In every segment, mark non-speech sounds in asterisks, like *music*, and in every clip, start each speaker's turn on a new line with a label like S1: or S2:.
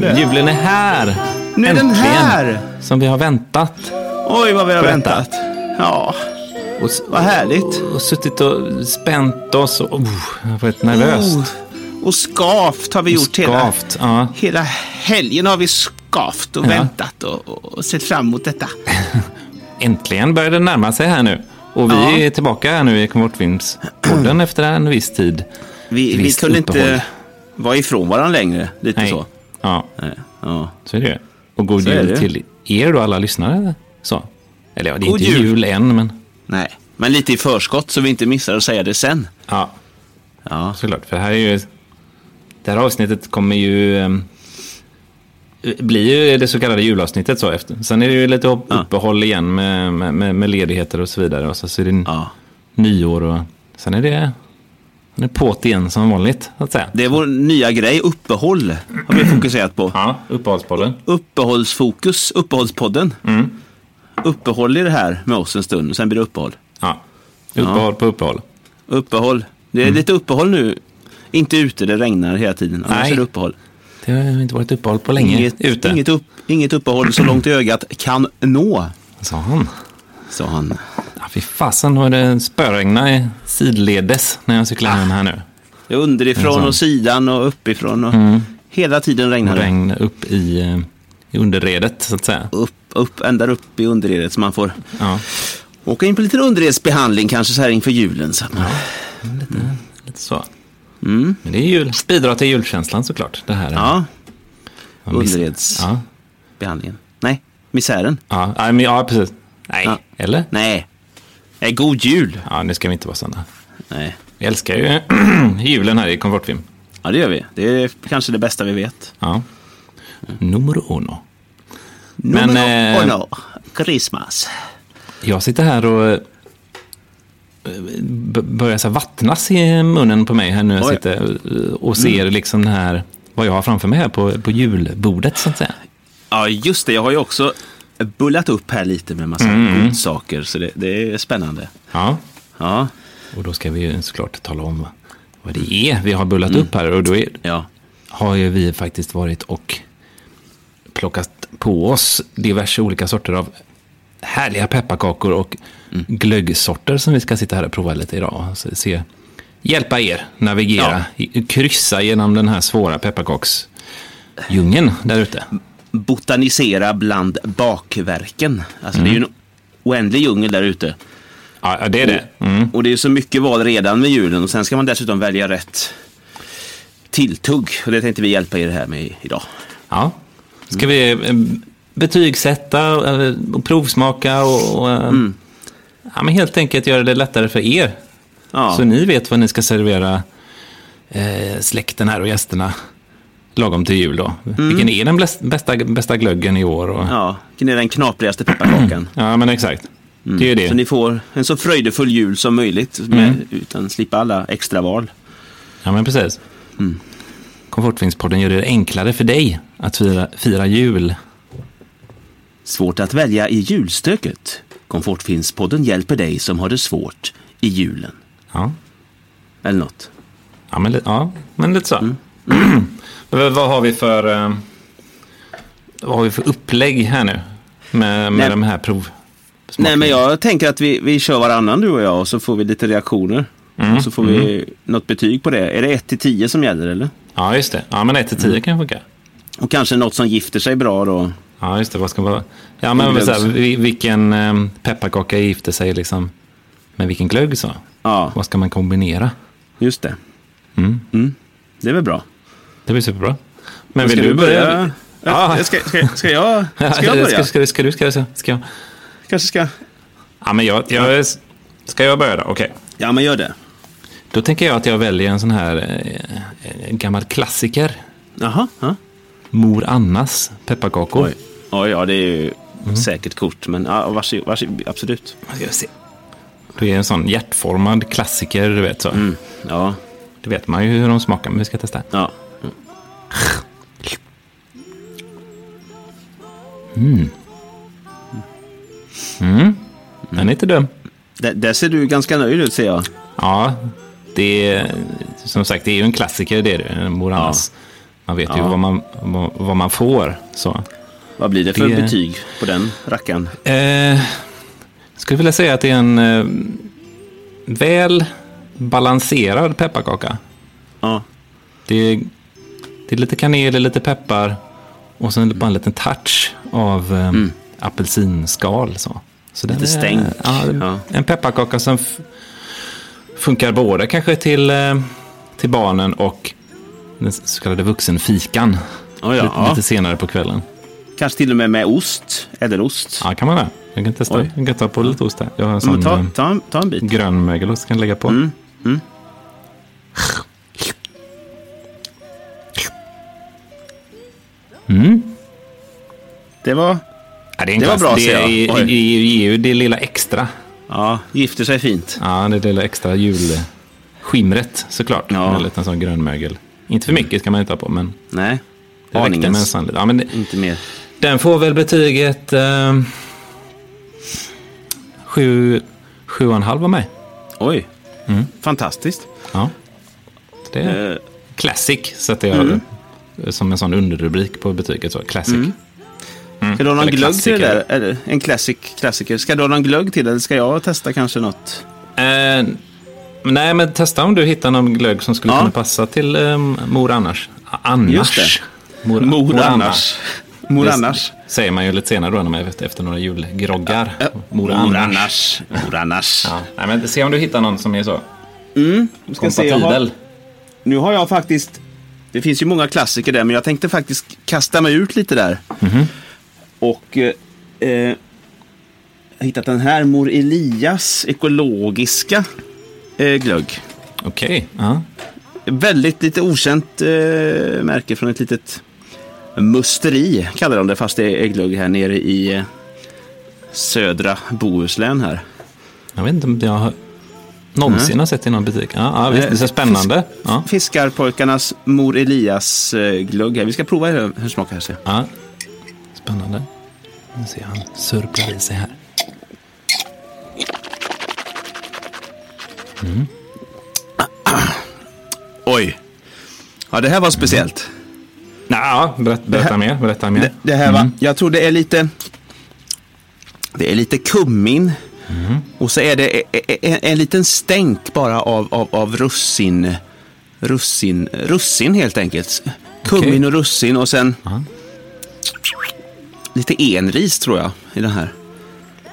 S1: det?
S2: Julen är här!
S1: Nu är den
S2: Äntligen.
S1: här!
S2: Som vi har väntat.
S1: Oj, vad vi har
S2: Vänta.
S1: väntat. Ja,
S2: Och, s-
S1: vad härligt.
S2: och suttit och spänt oss. Och, oh, jag har varit nervöst.
S1: Oh, Och skavt har vi gjort hela,
S2: Skavt. Ja.
S1: hela helgen. har vi skavt och
S2: Ja.
S1: väntat och, och och sett fram emot detta.
S2: Äntligen börjar det närma sig här nu. Och vi
S1: Ja.
S2: är tillbaka här nu i Komfortfilmspodden *clears throat* efter en viss tid.
S1: Vi, vi
S2: Visst
S1: kunde
S2: uppehåll.
S1: inte vara ifrån varandra längre. Lite
S2: Nej.
S1: så.
S2: Ja,
S1: Nej. Ja.
S2: så är det ju. Och god
S1: Så är
S2: jul
S1: det.
S2: till er då, alla lyssnare. Så. Eller ja, det är
S1: God
S2: inte jul.
S1: jul.
S2: än, men
S1: Nej. Men lite i förskott så vi inte missar att säga det sen.
S2: ja,
S1: Ja.
S2: såklart. För det här är ju... Det här avsnittet kommer ju... ehm, blir ju det så kallade julavsnittet så efter. Sen är det ju lite upp-
S1: Ja.
S2: uppehåll igen med, med- med, med ledigheter och så vidare. Och så, så är det
S1: ja.
S2: nyår och... Sen är det... Sen är det på't igen som vanligt, så att säga.
S1: Det är vår nya grej, uppehåll, har
S2: *clears throat*
S1: vi fokuserat på.
S2: Ja, uppehållspodden.
S1: Uppehållsfokus, Uppehållspodden.
S2: Mm.
S1: Uppehåll i det här med oss en stund, sen blir det uppehåll.
S2: Ja. Uppehåll på uppehåll.
S1: Uppehåll. Det är
S2: Mm.
S1: lite uppehåll nu. Inte ute, det regnar hela tiden. Annars
S2: Nej.
S1: är det uppehåll.
S2: Det har inte varit uppehåll på länge.
S1: Inget,
S2: Ute.
S1: inget, upp, inget uppehåll så långt ögat kan nå,
S2: Sa han.
S1: sa han.
S2: Ja, fy fasen, har det spöregna i sidledes när jag cyklar hem här nu.
S1: Det är underifrån och sidan och uppifrån. Och Hela tiden regnar
S2: Och
S1: det.
S2: Mm. regn upp i, eh, i underredet, så att säga.
S1: Upp, upp, ända upp i underredet. Så man får
S2: Ja.
S1: åka in på lite underredsbehandling kanske så här inför julen. Så att man...
S2: Lite så. Men det är jul. Bidrar till julkänslan såklart. Det här.
S1: Mm. Ja,
S2: Ja, miss-
S1: underreds-
S2: Ja.
S1: behandlingen. Nej, misären.
S2: Ja. Ja, men, ja, precis. Nej,
S1: Ja.
S2: eller?
S1: Nej. Nej, god jul.
S2: Ja, nu ska vi inte vara sådana.
S1: Nej.
S2: Vi älskar ju *clears throat* julen här i Komfortfilm.
S1: Ja, det gör vi. Det är kanske det bästa vi vet.
S2: Ja. Numero uno. Men,
S1: Men, Numero
S2: eh,
S1: uno. Christmas.
S2: Jag sitter här och eh, b- börjar så här vattnas i munnen på mig här nu. Jag
S1: Oj. Mm.
S2: sitter eh, och ser liksom den här, vad jag har framför mig här på, på julbordet så att säga.
S1: Ja, just det. Jag har ju också bullat upp här lite med massa
S2: Mm.
S1: godsaker, så det, det är spännande.
S2: Ja,
S1: Ja,
S2: och då ska vi ju såklart tala om vad det är vi har bullat upp här. Och då är,
S1: ja.
S2: har ju vi faktiskt varit och plockat på oss diverse olika sorter av härliga pepparkakor och glöggsorter som vi ska sitta här och prova lite idag. och se- Se, hjälpa er navigera, i- kryssa genom den här svåra pepparkaksdjungeln där ute.
S1: Botanisera bland bakverken. Alltså,
S2: Mm.
S1: det är ju en oändlig djungel där ute.
S2: Ja, ja, det är det. Mm.
S1: Och det är ju så mycket val redan med julen och sen ska man dessutom välja rätt tilltugg. Och det tänkte vi hjälpa er här med idag.
S2: Ja. Ska vi eh, betygsätta eh, och provsmaka och, och eh,
S1: Mm.
S2: ja, men helt enkelt göra det lättare för er.
S1: Ja.
S2: Så ni vet vad ni ska servera eh, släkten här och gästerna lagom till jul då. Vilken är den bläs- bästa, bästa glöggen i år? Och, ja.
S1: Mm. Ja, vilken är den knaprigaste pepparkakan?
S2: men exakt. Det är ju det.
S1: Mm. Så ni får en så fröjdefull jul som möjligt med, utan slippa alla extra val.
S2: Ja, men precis.
S1: Mm.
S2: Komfortfilmspodden gör det enklare för dig att fira, fira jul.
S1: Svårt att välja i julstöket. Komfortfinspodden hjälper dig som har det svårt i julen.
S2: Ja,
S1: Eller något.
S2: ja, men, li- ja men lite så.
S1: Mm.
S2: *clears throat* Men vad har vi för... eh, Vad har vi för upplägg här nu? Med,
S1: Nej.
S2: med de här prov...
S1: Nej, men jag tänker att vi, vi kör varannan du och jag och så får vi lite reaktioner. Och så får vi något betyg på det. Är det 1 till 10 som gäller eller?
S2: Ja, just det. Ja, men 1-10
S1: Mm.
S2: kan funka.
S1: Och kanske något som gifter sig bra då.
S2: Ja, just det. Vad ska vara? Ja, men
S1: Glögg.
S2: så här, vi- vilken eh, pepparkaka gifter sig liksom med vilken glögg så?
S1: Ja,
S2: Vad ska man kombinera?
S1: just det. Mm. Det är väl bra.
S2: Det blir superbra. Men
S1: Ska
S2: vill du börja? *laughs*
S1: Ja,
S2: Ja.
S1: Ska, ska, ska, jag, ska jag börja?
S2: Ska, ska, du- ska du? Ska, du- ska, du- ska jag?
S1: Kanske ska...
S2: Ja, men jag, jag, ska jag börja då? Okej.
S1: Ja, men gör det.
S2: Då tänker jag att jag väljer en sån här eh, en gammal klassiker.
S1: Jaha. Ja.
S2: Mor Annas pepparkakor.
S1: Oj. Oj, ja, det är ju säkert kort, men ja, varsågod, varsågod, absolut.
S2: Ska vi se. Det är en sån hjärtformad klassiker, du vet så.
S1: Mm. Ja,
S2: Det vet man ju hur de smakar, men vi ska testa.
S1: ja.
S2: Den är inte dum.
S1: Där, där ser du ganska nöjd ut, ser jag.
S2: Ja, det är som sagt det är ju en klassiker det är det. Mor Annas. Man vet ju
S1: Ja.
S2: vad man, vad- vad man får. Så.
S1: Vad blir det för
S2: Det-
S1: betyg på den rackaren?
S2: Eh, skulle vilja säga att det är en eh, väl balanserad pepparkaka.
S1: Ja.
S2: Det är, det är lite kanel, det är lite peppar och sen bara en liten touch av eh, apelsinskal. Så. Så den
S1: Mm. Lite
S2: är-
S1: stänk.
S2: Ja,
S1: Ja.
S2: En pepparkaka som f- funkar både kanske till, eh, till barnen och den så kallade vuxenfikan.
S1: Oh, ja,
S2: lite,
S1: ja.
S2: lite senare på kvällen.
S1: Kanske till och med med ost, ädelost.
S2: Ja, kan man väl. Jag kan testa.
S1: Oj.
S2: Jag kan ta på lite ost där. Jag har en
S1: Men
S2: sån
S1: ta, Mm.
S2: eh,
S1: ta, en- ta en bit.
S2: grön mögelost kan jag lägga på.
S1: Det var...
S2: Ja, det är en
S1: Det var
S2: klass-
S1: bra,
S2: det,
S1: ser
S2: är,
S1: jag.
S2: i-
S1: Oj.
S2: i- i- ger ju det lilla extra.
S1: Ja, gifter sig fint.
S2: Ja, det lilla extra julskimret såklart.
S1: Ja.
S2: Ja. En liten sån grönmögel. Inte för mycket ska man inte ha på, men
S1: Nej.
S2: det räckte med en
S1: Aningens.
S2: sån. liten- Ja, men det,
S1: Inte mer.
S2: den får väl betyget eh, sju, sju och en halv av mig.
S1: Oj. Mm. Fantastiskt.
S2: Ja. Det är
S1: Eh, Mm.
S2: classic, sätter jag det som en sån underrubrik på betyget. Så, classic.
S1: Ska du ha någon
S2: Eller
S1: glögg till det
S2: klassiker.
S1: där? Eller, en classic, klassiker. Ska du ha någon glögg till det, eller ska jag testa kanske något?
S2: Eh, nej, men testa om du hittar någon glögg som skulle
S1: Ja.
S2: kunna passa till eh, mor annars. A- Annars.
S1: Just det.
S2: Mor,
S1: Mor
S2: annars.
S1: annars. Mor
S2: Det
S1: annars.
S2: Säger man ju lite senare då, när man är ute efter några julgroggar. Mor annars.
S1: annars. Mor annars.
S2: Ja. Nej, men se om du hittar någon som är så
S1: Nu ska jag se, jag har-
S2: kompatibel.
S1: Nu har jag faktiskt, det finns ju många klassiker där, men jag tänkte faktiskt kasta mig ut lite där.
S2: Mhm.
S1: Och eh, eh, jag har hittat den här Mor Elias ekologiska eh, glögg.
S2: Okej. Ja.
S1: Väldigt lite okänt eh, märke från ett litet musteri kallar de det, fast det är glögg här nere i eh, södra Bohuslän här.
S2: Jag vet inte om jag har någonsin har sett i någon butik. Ja, ja, visst,
S1: Eh,
S2: det är spännande. Ja.
S1: Fiskarpojkarnas Mor Elias eh, glögg här. Vi ska prova hur hur smakar det.
S2: Ja. Spännande. Nu ser han sörplar i sig här.
S1: Oj! Ja, det här var speciellt.
S2: Ja, berätta, berätta mer. Berätta mer.
S1: Det, det här
S2: Mm.
S1: va? Jag tror det är lite... Det är lite kummin.
S2: Mm.
S1: Och så är det e- e- en, en liten stänk bara av, av, av russin, russin. Russin helt enkelt. Kummin
S2: Okej.
S1: och russin och sen...
S2: Ja.
S1: Lite enris tror jag i den här.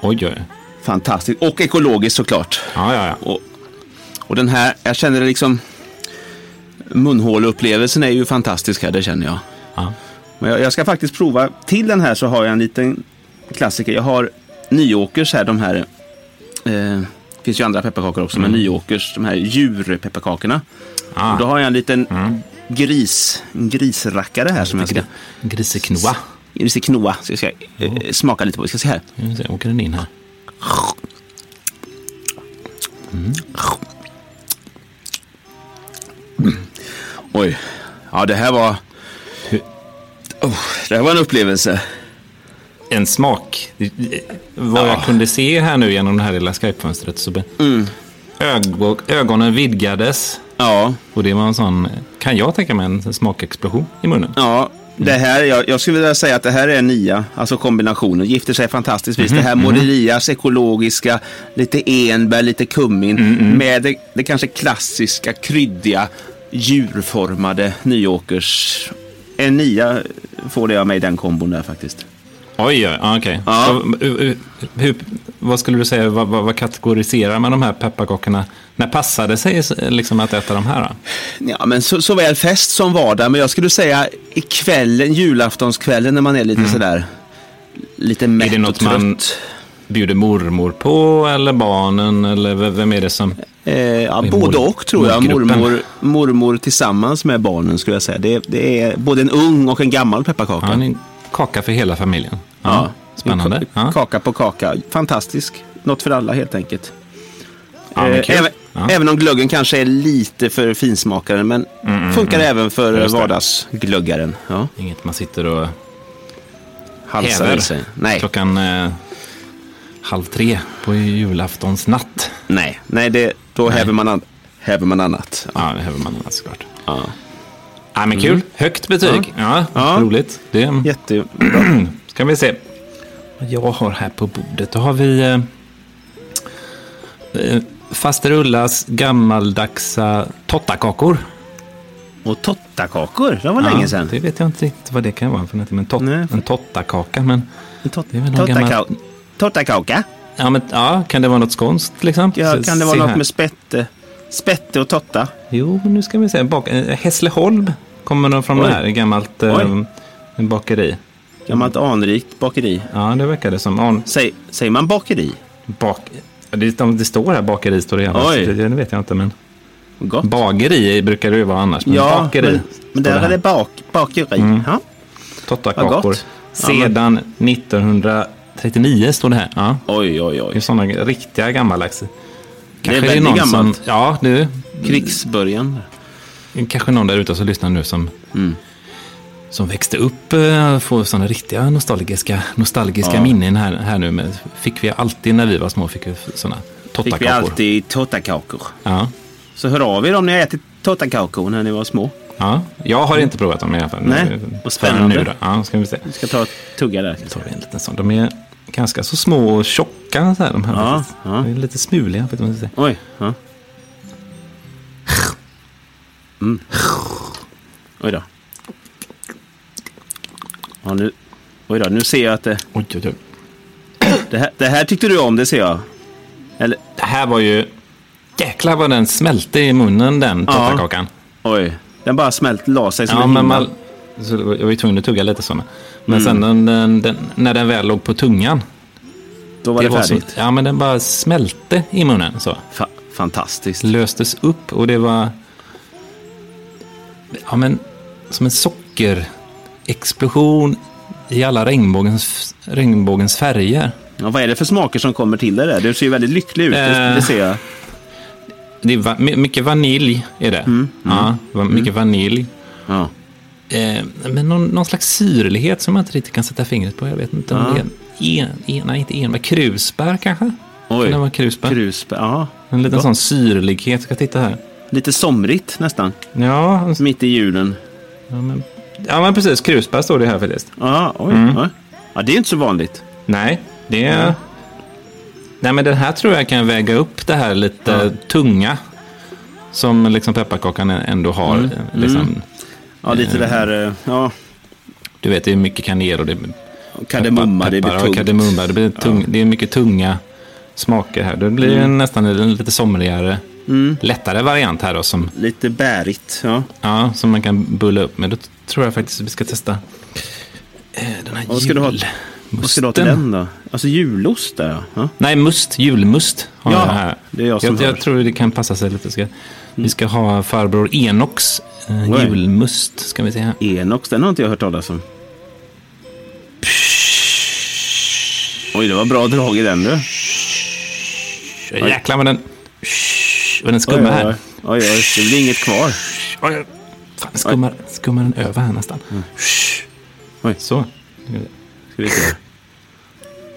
S2: Oj, oj.
S1: Fantastiskt. Och ekologiskt såklart.
S2: Ja, ja, ja.
S1: Och, och den här, jag känner det liksom... Munhåleupplevelsen är ju fantastisk här, det känner jag.
S2: ja.
S1: Men jag, jag ska faktiskt prova. Till den här så har jag en liten klassiker. Jag har Nyåkers här, de här. eh, Det finns ju andra pepparkakor också, men Nyåkers, de här djurpepparkakorna.
S2: Ah.
S1: Och då har jag en liten
S2: Mm,
S1: gris, en grisrackare här som jag ska,
S2: Griseknoa.
S1: jag ska knoa. Så jag ska eh, smaka lite på. Vi ska se här.
S2: Nu ser jag, åker den in här.
S1: Oj, ja det här var...
S2: Hur-
S1: Oh, det här var en upplevelse.
S2: En smak. Vad jag kunde se här nu genom det här lilla Skype-fönstret så be-
S1: Mm.
S2: ögo- ögonen vidgades.
S1: Ja,
S2: Och det var en sån, kan jag tänka mig, en smakexplosion i munnen.
S1: Ja, det
S2: Mm.
S1: här, jag, jag skulle vilja säga att det här är en nia, alltså kombinationen. Gifter sig fantastiskt vis.
S2: Mm,
S1: Det här Morelias ekologiska, lite enbär, lite kummin
S2: Mm,
S1: med det, det kanske klassiska, kryddiga, djurformade Nyåkers. En nia får det av mig den kombon där faktiskt.
S2: Oj, oj, ja, okej.
S1: Ja.
S2: Vad- hur- hur- hur- Vad skulle du säga, vad, vad, vad kategoriserar man de här pepparkakorna? När passade sig liksom att äta de här? Då?
S1: Ja, men så, såväl fest som vardag. Men jag skulle säga i kvällen, julaftonskvällen när man är lite sådär, lite mätt
S2: Mm. något
S1: och trött.
S2: man- Bjuder mormor på eller barnen eller v- vem är det som...
S1: Eh, ja,
S2: I
S1: både
S2: mor-
S1: och tror jag.
S2: målgruppen.
S1: Mormor, mormor tillsammans med barnen skulle jag säga. Det, det är både en ung och en gammal pepparkaka.
S2: Ja, en kaka för hela familjen. Ja, Spännande.
S1: Ka-
S2: Ja.
S1: Kaka på kaka. Fantastisk. Något för alla helt enkelt.
S2: Ja, men
S1: Eh,
S2: kul.
S1: även,
S2: Ja.
S1: även om glöggen kanske är lite för finsmakaren. Men funkar även för
S2: Just det.
S1: vardagsglöggaren. Ja.
S2: Inget man sitter och
S1: Halsar i sig.
S2: häver
S1: Nej,
S2: klockan eh, halv tre på julaftonsnatt.
S1: nej, nej det, då Häver, man an- häver man annat.
S2: alltså Ja, det häver man annars såklart.
S1: Ja.
S2: Ja, men kul. Högt betyg. Mm. Ja,
S1: Ja.
S2: roligt. Det
S1: Jätte...
S2: Mm. ska vi se. Vad Jag har här på bordet, då har vi eh, eh, Faster Ullas gammaldagsa tottakakor.
S1: Och tottakakor, det var länge sedan.
S2: Det vet jag inte riktigt vad det kan vara för någonting. Men tot,
S1: Nej.
S2: en tottakaka. Men,
S1: En tot-
S2: Det är väl någon
S1: tottakau-
S2: gammal-
S1: Tottakaka?
S2: ja, men ja, kan det vara något skånskt liksom?
S1: Ja,
S2: Se-
S1: kan det vara
S2: se
S1: något
S2: här.
S1: med spette? Spette och totta?
S2: Jo, nu ska vi se. Bak, eh, Hässleholm kommer de från
S1: Oj.
S2: det här. Ett gammalt eh,
S1: Oj.
S2: bakeri.
S1: Gammalt anrikt bakeri.
S2: Ja, det verkar det som. An,
S1: Säg, säger man bakeri?
S2: bak, det, de- det står här bakeri, står det gärna.
S1: Oj.
S2: Det, det vet jag inte, men...
S1: Gott.
S2: Bageri brukar det ju vara annars, men
S1: ja,
S2: bakeri.
S1: men, men där
S2: står
S1: är
S2: här. Mm.
S1: det bak, bakeri. Ja. Vad
S2: Tottakakor.
S1: gott. Ja, men-
S2: Sedan 1939 står det här. Ja,
S1: Oj, oj,
S2: det är
S1: oj.
S2: sådana riktiga gammalax. Kanske
S1: väldigt
S2: någon
S1: gammalt.
S2: Som, ja, nu.
S1: Krigsbörjan.
S2: Kanske någon där ute som lyssnar nu som,
S1: Mm.
S2: som växte upp eh, får sådana riktiga nostalgiska, nostalgiska
S1: Ja.
S2: minnen här, här nu. Men fick vi alltid när vi var små, fick vi sådana
S1: Fick
S2: tottakakor.
S1: vi alltid tottakakor.
S2: Ja.
S1: Så hör av er om ni har ätit tottakakor när ni var små.
S2: Ja, jag har inte provat dem i alla fall.
S1: Nej,
S2: Nu-
S1: vad spännande.
S2: förrän Nu då. Ja, ska vi se.
S1: Vi ska ta ett tugga där.
S2: tar vi en liten sån. De är ganska så små och tjocka så här, de här.
S1: Ja,
S2: faktiskt.
S1: ja.
S2: De är lite smuliga. Vet du vad jag ska säga.
S1: Oj. Ja. Mm. Mm. Oj då. Ja, nu, oj då, nu ser jag att det,
S2: Oj, oj, oj.
S1: det, här, det här tyckte du om, det ser jag. Eller,
S2: Det här var ju... Jäklar vad den smälte i munnen den
S1: Ja.
S2: tårtakakan.
S1: oj, den bara smält, la sig som
S2: Ja,
S1: en
S2: men
S1: himmel.
S2: man, så jag var ju tvungen att tugga lite såna. Men sen
S1: Mm.
S2: den, den, den, när den väl låg på tungan.
S1: Då var det,
S2: var så,
S1: färdigt.
S2: ja, men den bara smälte i munnen. Så.
S1: Fa fantastiskt.
S2: löstes upp och det var ja, men, som en sockerexplosion i alla regnbågens, regnbågens färger.
S1: Ja, vad är det för smaker som kommer till dig där? Du ser ju väldigt lycklig ut, det,
S2: Eh.
S1: det ser jag.
S2: Det är va, my- mycket vanilj är det.
S1: Mm.
S2: Ja, va, mycket vanilj.
S1: Ja.
S2: Eh, men någon, någon slags syrlighet som man inte riktigt kan sätta fingret på. Jag vet inte om
S1: Ja.
S2: det är en, en, nej, inte enbär, krusbär kanske?
S1: Oj.
S2: Kan det vara krusbär?
S1: Krusbär, ja.
S2: en liten
S1: Gott.
S2: sån syrlighet. Ska titta här.
S1: Lite somrigt nästan,
S2: Ja, en-
S1: mitt i julen.
S2: ja, men, ja men precis. Krusbär står det här faktiskt.
S1: Ja, oj.
S2: Mm.
S1: Ja. ja, det är inte så vanligt.
S2: Nej, det... Nej, men den här tror jag kan väga upp det här lite tunga som liksom pepparkakan ändå har.
S1: Mm.
S2: Liksom,
S1: Ja, lite det här, eh, ja,
S2: Du vet, det är mycket kanel och det är
S1: kardemumma, det blir
S2: peppar och
S1: tungt.
S2: kardemumma. Det, blir tung, det är mycket tunga smaker här. Det blir
S1: Mm.
S2: nästan en lite somrigare, lättare variant här då som,
S1: Lite bärigt, ja.
S2: ja, som man kan bulla upp med. Då tror jag faktiskt vi ska testa eh, den här
S1: Vad ska du ha- Vad ska du ha till
S2: julmusten.
S1: den då? Alltså julost där, ja. ja.
S2: Nej, must. Julmust har
S1: Ja,
S2: jag här.
S1: det är jag som
S2: jag,
S1: hör.
S2: tror det kan passa sig lite. Ska, Vi ska ha farbror Enoks eh,
S1: Oj.
S2: julmust. Ska vi se här.
S1: Enox, den har inte jag hört talas om. Oj, det var bra drag i den du.
S2: Jäklar vad den... Vad den
S1: Oj,
S2: skummar
S1: oj,
S2: här.
S1: oj, oj, det blir inget kvar.
S2: Oj, Fan, den skummar, skummar den över här nästan.
S1: Mm. Oj.
S2: Så.
S1: Ska vi se.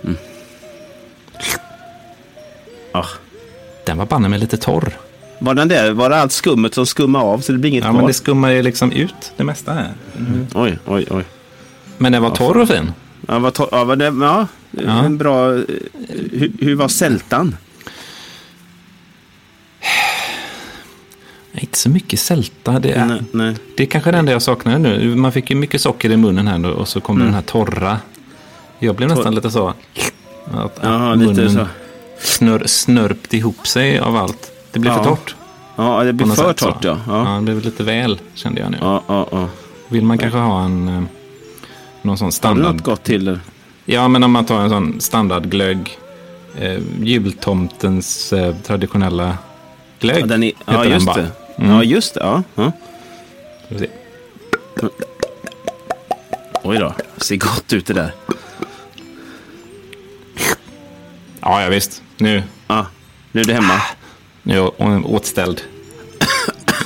S1: Mm. Ah.
S2: Den var banne mig lite torr.
S1: Var den där? Var det allt skummet som skummade av så det blir inget
S2: Ja,
S1: kvar?
S2: men det skummar ju liksom ut det mesta här.
S1: Oj, oj, oj.
S2: Men den var torr och fin.
S1: Ja, vad to- ja, vad det, ja, en bra... eh, Hur, hur var sältan?
S2: Nej, Inte så mycket sälta. Det är,
S1: Nej, nej.
S2: Det är kanske det enda jag saknar nu. Man fick ju mycket socker i munnen här nu och så kom
S1: Mm.
S2: den här torra. Jag blev nästan lite så. Att,
S1: Ja,
S2: att
S1: lite
S2: munnen
S1: så.
S2: Snör, snörpt ihop sig av allt. Det blev
S1: Ja,
S2: för torrt.
S1: Ja, det
S2: på
S1: blir
S2: något
S1: för
S2: sätt, så.
S1: torrt ja. Ja,
S2: det blev lite väl kände jag nu.
S1: ja, ja. ja.
S2: Vill man kanske ha en eh, någon sån
S1: Har du
S2: standard.
S1: något gott till?
S2: Ja, men om man tar en sån standardglögg. Eh, jultomtens eh, traditionella glögg.
S1: Ja, den är,
S2: heter
S1: ja,
S2: den
S1: just
S2: bara. Mm.
S1: det. Ja, just det. Ja, ja.
S2: Ska vi se.
S1: Oj då, ser gott ut det där.
S2: Ja, ja visst. Nu,
S1: Ja, nu är du hemma.
S2: Ah. nu är jag åtställd.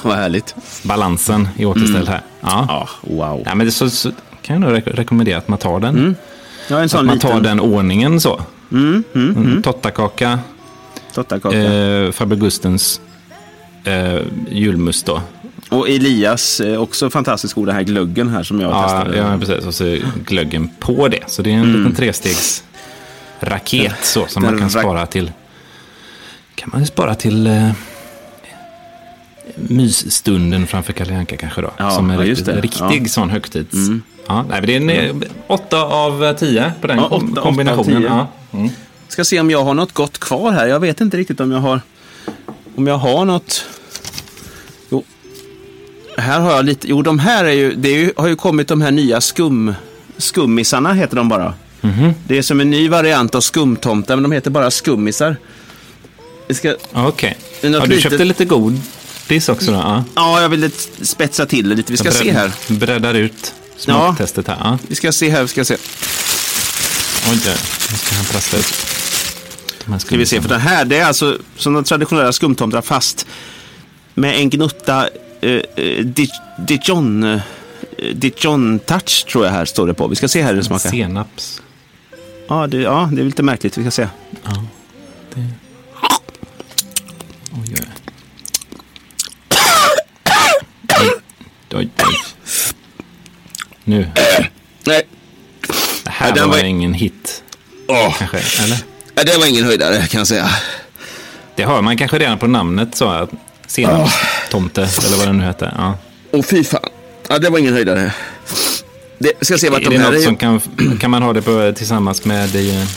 S1: Vad härligt.
S2: balansen är återställd här. Ja.
S1: Mm. Ja, wow.
S2: Ja, men det så, så kan jag nog rek- rekommendera att man tar den.
S1: Ja, Mm, en
S2: Att
S1: sån
S2: man tar
S1: liten
S2: den ordningen så. Mm, Tottakaka,
S1: tottakaka.
S2: eh, Faber Gustens eh, julmust då.
S1: Och Elias, eh, också fantastiskt god, den här glöggen här som jag
S2: Ja,
S1: testade.
S2: ja, precis. Och så glöggen på det. Så det är en liten trestegsraket så, som man
S1: Mm. Den
S2: kan
S1: rak-
S2: spara till. Kan man ju spara till eh, mysstunden framför Kalle Anka kanske då.
S1: Ja,
S2: som en
S1: ja,
S2: riktig,
S1: just det.
S2: riktig
S1: Ja. Mm.
S2: sån högtids... Ja, nej, men det är en eh, åtta av tio på den
S1: Ja,
S2: kom-
S1: åtta- åtta av
S2: kombinationen.
S1: tio.
S2: Ja. Mm.
S1: Ska se om jag har något gott kvar här. Jag vet inte riktigt om jag har... Om jag har något... Jo. Här har jag lite... Jo, de här är ju... Det är ju, har ju kommit de här nya skum... Skummisarna heter de bara. Det är som en ny variant av skumtomtar, men de heter bara skummisar. Vi ska...
S2: Okej.
S1: Det är något
S2: Ja, du
S1: litet-
S2: köpte lite godis också då? Ja.
S1: Ja, jag ville t- spetsa till det lite. Vi ska
S2: Jag
S1: se här.
S2: Breddar ut smaktestet här. Ja.
S1: Vi ska se här, vi ska se.
S2: Oj, nu ska han pressa ut. de här
S1: Ska vi se, för den här det är alltså som de traditionella skumtomtarna fast med en gnutta eh, eh, di- Dijon eh, Dijon touch tror jag här står det på. Vi ska se här hur det smakar.
S2: Senaps.
S1: Ja det, ja, det är lite märkligt. Vi ska se.
S2: Oj, oj. Oj, oj, oj. Nu.
S1: Nej,
S2: Det här
S1: Ja, den
S2: var,
S1: var-
S2: ingen hit,
S1: oh,
S2: kanske. Eller?
S1: det var ingen höjdare kan jag säga.
S2: Det hör man kanske redan på namnet. så att Senapstomte,
S1: Ah.
S2: eller vad den nu heter. Ja.
S1: Och fy fan. Ja, det var ingen höjdare. Det, ska se vart
S2: Är
S1: de
S2: det
S1: här
S2: något
S1: är.
S2: som kan, kan man ha det på, tillsammans med eh,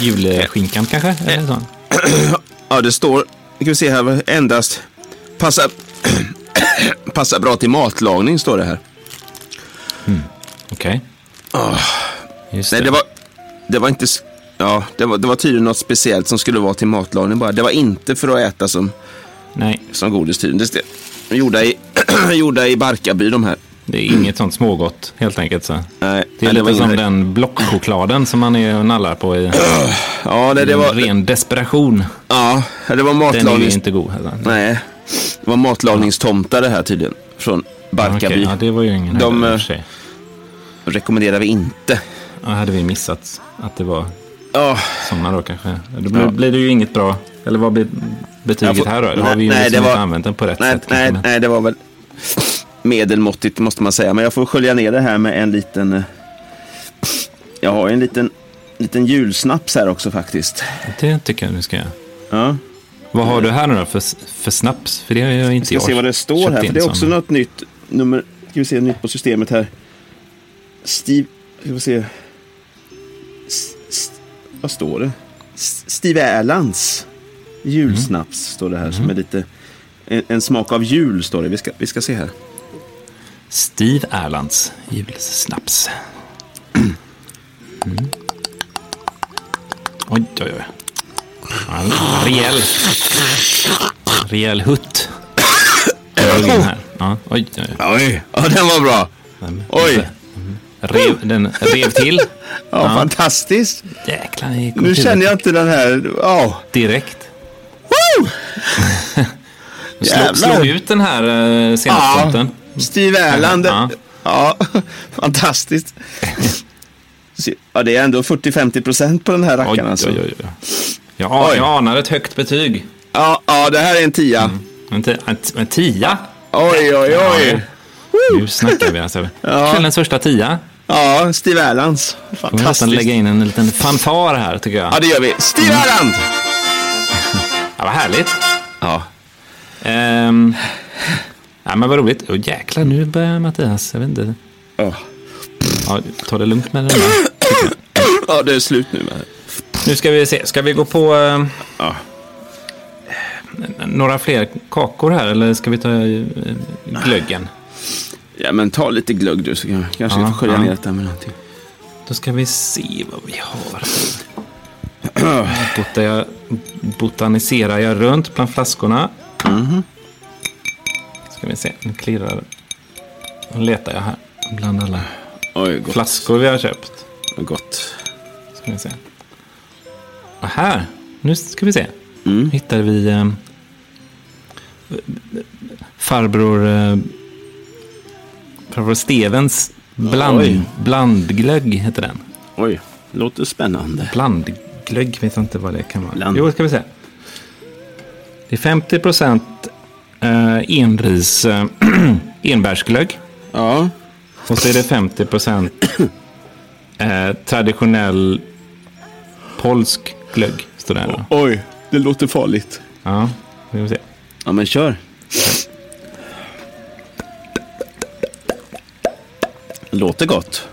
S2: julskinkan kanske?
S1: Eh.
S2: Eller så?
S1: Ja, det står, nu ska vi se här, vad- endast passa, *coughs* passa bra till matlagning står det här.
S2: Okej. Just
S1: Ah. Nej, det var, det var inte... s- Ja, det var, det var tydligen något speciellt som skulle vara till matlagning bara. Det var inte för att äta som,
S2: Nej,
S1: som godis tydligen. Det, st- de är gjorda, i, *clears throat* gjorda i Barkarby de här.
S2: det är inget sånt smågott helt enkelt. Så.
S1: Nej,
S2: Det är
S1: nej, var Ah.
S2: lite som
S1: ingen-
S2: den blockchokladen som man är och nallar på i
S1: Ja, nej, det var,
S2: ren desperation.
S1: ja, det var
S2: Den är ju
S1: matlagnings...
S2: inte god. Alltså.
S1: Nej, det var matlagningstomtar det här tydligen. Från Barkarby.
S2: Okej, ja, det var ju ingen
S1: De,
S2: höjdare i och
S1: eh,
S2: för sig.
S1: Rekommenderar vi inte.
S2: Ja, hade vi missat att det var
S1: Ja,
S2: sådana då kanske. Då blir,
S1: Ja.
S2: blir det ju inget bra. Eller vad blir betyget
S1: Jag får-
S2: här då? Då
S1: Nej,
S2: har vi ju
S1: nej,
S2: liksom
S1: det
S2: inte
S1: var-
S2: använt den på rätt
S1: nej,
S2: sätt. kanske,
S1: nej,
S2: men-
S1: nej, det var väl medelmåttigt måste man säga. Men jag får skölja ner det här med en liten... eh, Jag har ju en liten, liten julsnaps här också faktiskt.
S2: Det tycker jag du ska göra.
S1: Ja.
S2: Vad har du här nu då för, för snaps? För det har jag inte
S1: Vi ska se vad det står
S2: köpt
S1: här. För
S2: in
S1: det är
S2: som-
S1: också något nytt. Nummer, ska vi se, nytt på systemet här. Steve... Ska vi se. S, s, vad står det? S, Steve Erlands julsnaps står det här. Som är lite... En, en smak av jul står det. Vi ska, vi ska se här.
S2: Steve Erlands julsnaps. Mm. Oj, oj, oj. Ja, en Rejäl. Rejäl hutt. Jag drog in här. Ja, oj, oj. oj.
S1: Oj! Ja, den var bra!
S2: Den-
S1: Oj.
S2: Rev, den rev till.
S1: Ja, fantastiskt.
S2: Jäklar, det kom
S1: Nu
S2: till
S1: känner jag inte den här... Ja,
S2: direkt. *laughs*
S1: Woo!
S2: Jag Slog,
S1: Jävlar.
S2: slog ut den här eh,
S1: ja.
S2: senapstomten.
S1: Steve Erland.
S2: Ja.
S1: Ja. *laughs* fantastiskt. Se- Ja, det är ändå 40-50 procent på den här
S2: Oj,
S1: rackaren
S2: oj,
S1: alltså.
S2: oj. oj. Jag,
S1: Oj.
S2: jag anar ett högt betyg.
S1: Ja, ja, det här är en tia.
S2: Mm. En, ti- en, t- en tia.
S1: Oj, oj, oj.
S2: Nu snackar vi alltså.
S1: *laughs* Ja.
S2: Kvällens första tia.
S1: Ja, Steve Erlands.
S2: Vi får nästan lägga
S1: Fantastiskt.
S2: in Mm. en liten fanfar här tycker jag.
S1: Ja, det gör vi. Steve Erland!
S2: Ja, vad härligt.
S1: Ja.
S2: Ehm, ja, men vad roligt. Åh jäklar, nu börjar Mattias. Jag vet inte.
S1: Ja.
S2: Ja, ta det lugnt med den där.
S1: ja, det är slut nu med det.
S2: Nu ska vi se. Ska vi gå på eh,
S1: Ja.
S2: några fler kakor här eller ska vi ta eh, glöggen?
S1: ja, men ta lite glögg du så kan- kanske vi
S2: Ja,
S1: får skölja
S2: ja.
S1: ner det här med någonting.
S2: Då ska vi se vad vi har. Botar jag, botaniserar jag runt bland flaskorna. Ska vi se, nu klirrar Nu letar jag här bland alla
S1: Oj, gott.
S2: flaskor vi har köpt.
S1: gott.
S2: Ska vi se. Och här, nu ska vi se. Hittar vi eh, farbror, eh, farbror Stevens
S1: Oj.
S2: bland, blandglögg heter den.
S1: Oj, låter spännande.
S2: Blandglögg vet jag inte vad det kan vara.
S1: Bland-
S2: Jo, ska vi se. Det är 50 procent eh, enris eh, *clears throat* enbärsglögg.
S1: Ja.
S2: Och så är det 50 procent eh, traditionell polsk glögg. Står det här då.
S1: Oj, det låter farligt.
S2: Ja, vi får se.
S1: Ja, men kör. Låter gott.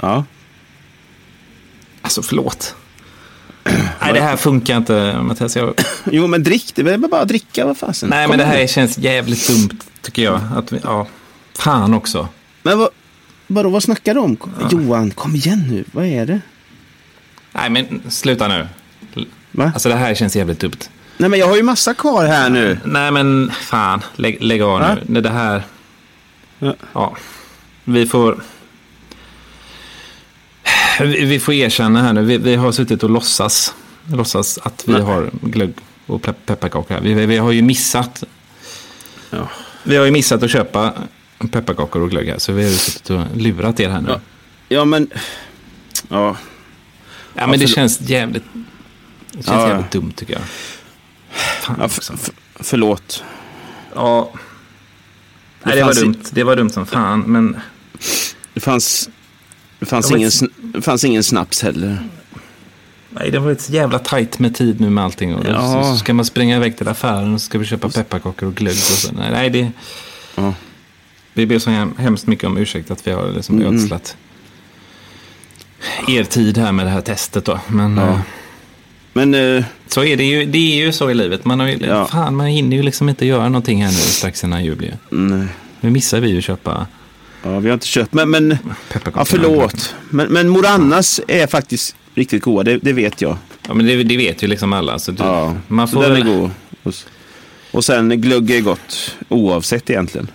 S1: Ja,
S2: Alltså förlåt. Nej, det här funkar inte Mattias. Jag...
S1: jo men drick, det är väl bara att dricka, vad fasen.
S2: Nej,
S1: Kom
S2: men det här
S1: igen.
S2: känns jävligt dumt tycker jag. Att vi, ja. Fan också.
S1: Men vad, vadå, vad snackar du om? Kom- Johan, kom igen nu, vad är det?
S2: Nej, men sluta nu.
S1: Va?
S2: Alltså det här känns jävligt dumt.
S1: Nej men jag har ju massa kvar här nu.
S2: Nej, men fan. Lägg, lägg av
S1: Ja.
S2: nu. Det- Det här...
S1: Ja.
S2: Ja. Vi får... Vi vi får erkänna här nu. Vi, vi har suttit och låtsas, låtsas att vi
S1: Nej.
S2: har glögg och pe- pepparkakor här. Vi, vi, vi har ju missat...
S1: Ja.
S2: Vi har ju missat att köpa pepparkakor och glögg här. Så vi har ju suttit och lurat er här nu.
S1: Ja,
S2: Ja,
S1: Ja men, ja.
S2: men det
S1: förlåt.
S2: känns jävligt... Det känns
S1: Ja, ja.
S2: jävligt dumt tycker jag. Fan alltså.
S1: ja f-
S2: också.
S1: f- förlåt.
S2: Ja.
S1: Det
S2: Nej, det var
S1: fanns
S2: dumt. Det var dumt som fan, men...
S1: Det fanns, det fanns,
S2: Ja, men-
S1: ingen, sn- det fanns ingen snaps heller.
S2: Nej, det var ett så jävla tajt med tid nu med allting. Och
S1: Ja.
S2: så ska man springa iväg till affären och ska vi köpa pepparkakor och glögg. Och så. Nej, nej, det,
S1: Ja.
S2: vi ber så hem- hemskt mycket om ursäkt att vi har liksom
S1: Mm.
S2: ödslat er tid här med det här testet. Då. Men eh,
S1: Men, eh,
S2: så är det, ju, det är ju så i livet. Man, har ju,
S1: Ja.
S2: fan, man hinner ju liksom inte göra någonting här nu strax innan jul. ju.
S1: nej.
S2: Nu missar vi ju att köpa
S1: Ja, vi har inte köpt, men, men
S2: pepparkakor.
S1: ja, förlåt. Men, men Morannas är faktiskt riktigt goda, det, det vet jag.
S2: Ja, men det, det vet ju liksom alla. Så du,
S1: Ja,
S2: man får
S1: så den
S2: väl-
S1: är god. Och, s- och sen glögg är gott, oavsett egentligen.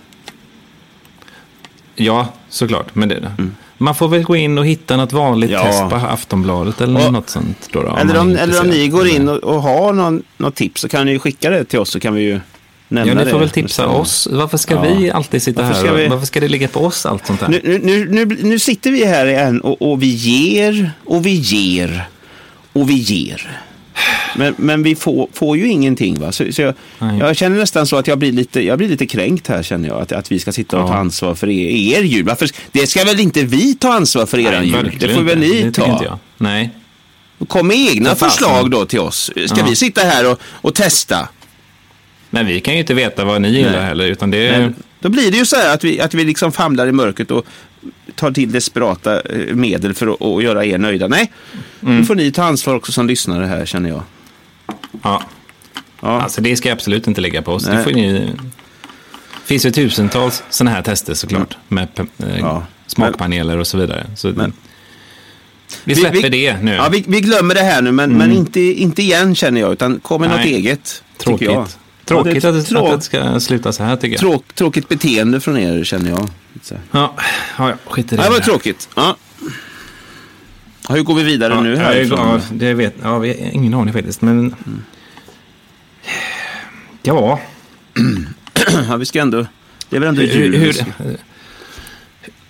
S2: Ja, såklart. Men det, Man får väl gå in och hitta något vanligt
S1: Mm. Ja.
S2: test på Aftonbladet eller
S1: Och-
S2: något sånt. Då, då, om
S1: eller
S2: man
S1: om,
S2: är
S1: eller om
S2: intresserad.
S1: ni går in och, och har någon, något tips så kan ni ju skicka det till oss så kan vi ju nämna
S2: Ja,
S1: det.
S2: ni får väl tipsa
S1: nästa gång.
S2: oss. Varför ska
S1: Ja.
S2: vi alltid sitta
S1: Varför
S2: här?
S1: ska
S2: och-
S1: vi-
S2: Varför ska det ligga på oss allt sånt här?
S1: Nu, nu, nu, nu, bli- nu sitter vi här igen och, och vi ger och vi ger och vi ger. Men, men vi får, får ju ingenting. Va? Så, så jag,
S2: Nej.
S1: jag känner nästan så att jag blir lite, jag blir lite kränkt här känner jag. Att, att vi ska sitta och ta
S2: Ja.
S1: ansvar för er, er jul. Varför, det ska väl inte vi ta ansvar för eran
S2: Nej,
S1: jul? Det
S2: verkligen
S1: får väl
S2: inte.
S1: ni
S2: det tycker Inte
S1: ta.
S2: jag. Nej.
S1: Kom med egna
S2: För fasen.
S1: förslag då till oss. Ska
S2: Ja.
S1: vi sitta här och, och testa?
S2: Nej, vi kan ju inte veta vad ni gillar heller. Utan det är...
S1: Men, Eh, då blir det ju så här att vi, att vi liksom famlar i mörkret och tar till desperata eh, medel för att att göra er nöjda. Nej,
S2: Mm.
S1: nu får ni ta ansvar också som lyssnare här känner jag.
S2: ja.
S1: Ja,
S2: Alltså, det ska absolut inte ligga på oss.
S1: Nej.
S2: Det får ni... Det finns ju tusentals sådana här tester såklart. Med pe- eh,
S1: Mm. Ja.
S2: smakpaneler och så vidare. Så
S1: Men-
S2: vi
S1: Vi-
S2: släpper
S1: vi-
S2: det nu. Mm.
S1: ja vi, vi glömmer det här nu, men, men inte, inte igen känner jag, utan kom med något
S2: Nej.
S1: eget.
S2: Tråkigt.
S1: tycker jag.
S2: Tråkigt
S1: Ja,
S2: att,
S1: det är
S2: det,
S1: trå-
S2: att det ska sluta så här tycker jag.
S1: tråk, tråkigt beteende från er känner jag. Så. här.
S2: ja, ja, ja, skit i det.
S1: Ja, det var
S2: där.
S1: tråkigt. Ja. Ja, Hur går vi vidare
S2: Ja,
S1: nu liksom.
S2: ja,
S1: härifrån?
S2: Ja, det vet, ja, vi har ingen aning faktiskt. Men...
S1: Mm.
S2: Ja,
S1: *laughs* Ja, vi ska ändå... Det är väl ändå
S2: hur,
S1: jul? liksom.
S2: hur,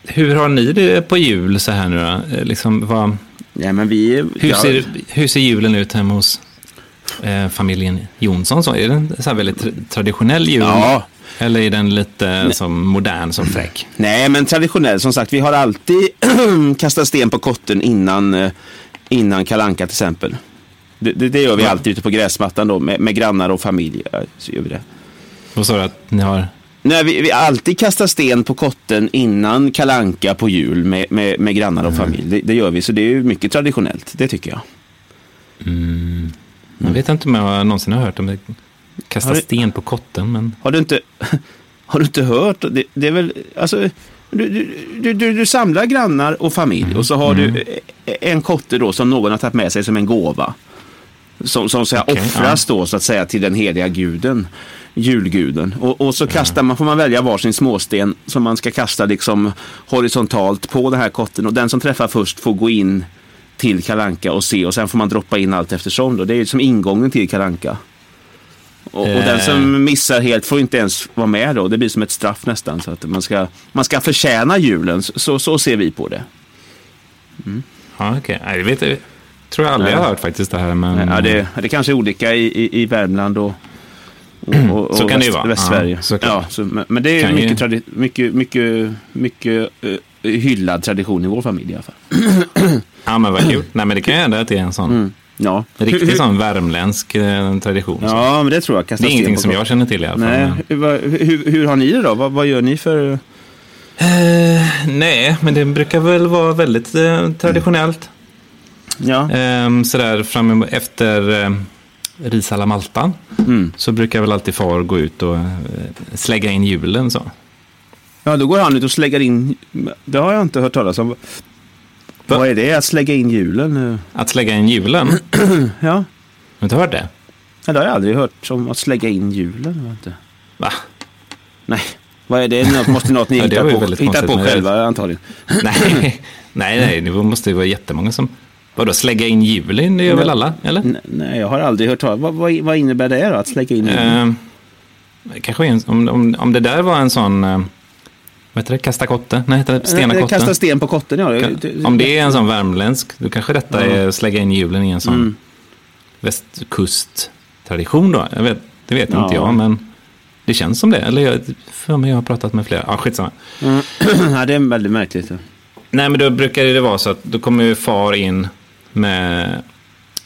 S2: hur har ni det på jul så här nu då? Eh, Liksom, vad,
S1: ja, men vi,
S2: hur,
S1: ja,
S2: ser, hur ser julen ut hemma hos eh, familjen Jonsson? Så? Är den så här väldigt tra- traditionell jul?
S1: Ja.
S2: Eller är den lite som modern, som fräck?
S1: Nej, men traditionell som sagt. Vi har alltid *clears throat* kastat sten på kotten innan, eh, innan kalanka till exempel. Det, det, det gör vi
S2: Ja.
S1: alltid ute på gräsmattan då med, med grannar och familj. eh, Så gör vi det.
S2: Vad sa du att ni har?
S1: Nej, vi, vi alltid kastar sten på kotten innan kalanka på jul med, med, med grannar och familj. Det, det gör vi, så det är ju mycket traditionellt. Det tycker jag.
S2: Jag vet inte om jag någonsin har hört om det. Kasta
S1: Har det-
S2: sten på kotten, men...
S1: Har du inte, *laughs* har du inte hört? Det, det är väl, alltså, du, du, du, du, du samlar grannar och familj och så har du eh, en kotte då som någon har tagit med sig som en gåva. Som, som så att säga
S2: Okej,
S1: offras då så att säga till den heliga guden, julguden. Och, och så kastar man, får man välja varsin småsten som man ska kasta liksom horisontalt på den här kotten och den som träffar först får gå in till Kalanka och se och sen får man droppa in allt eftersom då. Det är ju som ingången till Kalanka. Och, och den
S2: Eh.
S1: som missar helt får inte ens vara med då. Det blir som ett straff nästan. Så att man ska, man ska förtjäna julen. Så, så ser vi på det.
S2: Ja, okej. Nej, det vet jag. tror jag aldrig jag
S1: Nej.
S2: har hört faktiskt det här. Men...
S1: Ja, det, det kanske är olika i, i, i Värmland och, och, och,
S2: Mm. Så
S1: och
S2: kan det ju
S1: väst,
S2: vara.
S1: Västsverige.
S2: Ja, såklart.
S1: ja, så, men, men det är
S2: Kan ju-
S1: mycket, tradi- mycket, mycket, mycket eh, hyllad tradition i vår familj i alla fall.
S2: Ja, men vad kul. Nej, men det kan ju hända att det är en sån
S1: Ja.
S2: riktig sån värmländsk eh, tradition. så.
S1: Mm. Ja, men det tror jag. Kasta
S2: det är
S1: sten
S2: ingenting
S1: på
S2: som
S1: brott.
S2: jag känner till i alla fall.
S1: Nej,
S2: men-
S1: hur, vad- hur, hur har ni det då? Vad, vad gör ni för...
S2: Eh, nej, men det brukar väl vara väldigt eh, traditionellt.
S1: Ja,
S2: Ehm, sådär fram emot- efter eh, ris alla Maltan
S1: mm.
S2: så brukar väl alltid far gå ut och eh, slägga in julen så.
S1: ja då går han ut och slägger in... Det har jag inte hört talas om. Vad är det, att slägga in hjulen?
S2: Att slägga in julen, har
S1: Ja,
S2: du inte hört det?
S1: Ja, det har jag aldrig hört om att slägga in hjulen. vet inte.
S2: Va?
S1: Nej, vad är det? Något, måste något ni
S2: *laughs* Ja, det
S1: hittar
S2: var ju
S1: på,
S2: väldigt
S1: hittar
S2: konstigt,
S1: på
S2: men det-
S1: själva antagligen.
S2: nej,
S1: *laughs*
S2: nej, nej, det måste ju vara jättemånga som... Vadå, slägga in julen, det gör väl alla, eller?
S1: N- Nej, jag har aldrig hört talas vad, vad, vad innebär det då, att slägga in hjulen?
S2: Ehm, det kanske är en, om, om, om det där var en sån... eh, Vad heter det? Kasta kotte? Nej, heter det stena
S1: Eh,
S2: kotte?
S1: Kasta sten på kotten, ja.
S2: Kan- Om det är en sån värmländsk, då kanske detta
S1: Ja.
S2: är slägga in hjulen i en sån
S1: Mm.
S2: västkusttradition då. Jag vet, det vet
S1: Ja.
S2: inte jag, men det känns som det. Eller jag, för mig, jag har pratat med flera. Ja, skitsamma.
S1: Mm. *clears throat* ja, det är väldigt märkligt. ja.
S2: Nej, men då brukar det vara så att då kommer ju far in med,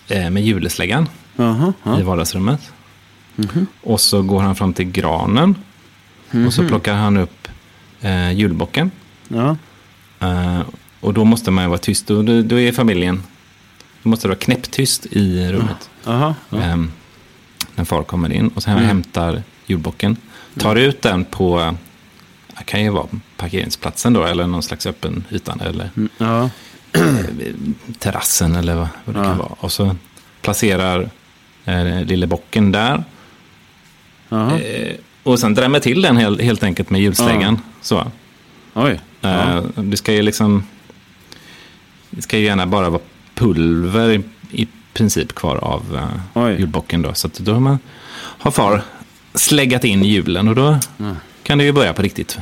S2: eh, med julesläggan
S1: Jaha, ja. Mhm.
S2: i vardagsrummet. Och så går han fram till granen och
S1: Mhm.
S2: så plockar han upp eh, julbocken.
S1: ja.
S2: Eh, och då måste man ju vara tyst. Då, då, då är familjen... Då måste det vara knäpptyst i rummet.
S1: Jaha, ja. Mm.
S2: Ehm, när far kommer in och sen hämtar julbocken. Tar ut den på... eh, Det kan ju vara parkeringsplatsen då, eller någon slags öppen yta. Eller
S1: ja.
S2: terrassen eller vad, vad det
S1: Ja.
S2: kan vara. Och så placerar eh, lille bocken där.
S1: Jaha.
S2: Eh, och sen drämmer till den helt, helt enkelt med julsläggan. Så.
S1: Oj.
S2: Eh, Det ska ju liksom... Det ska ju gärna bara vara pulver i, i princip kvar av eh,
S1: Oj.
S2: julbocken. Då. Så att då har, man, har far släggat in julen och då kan det ju börja på riktigt.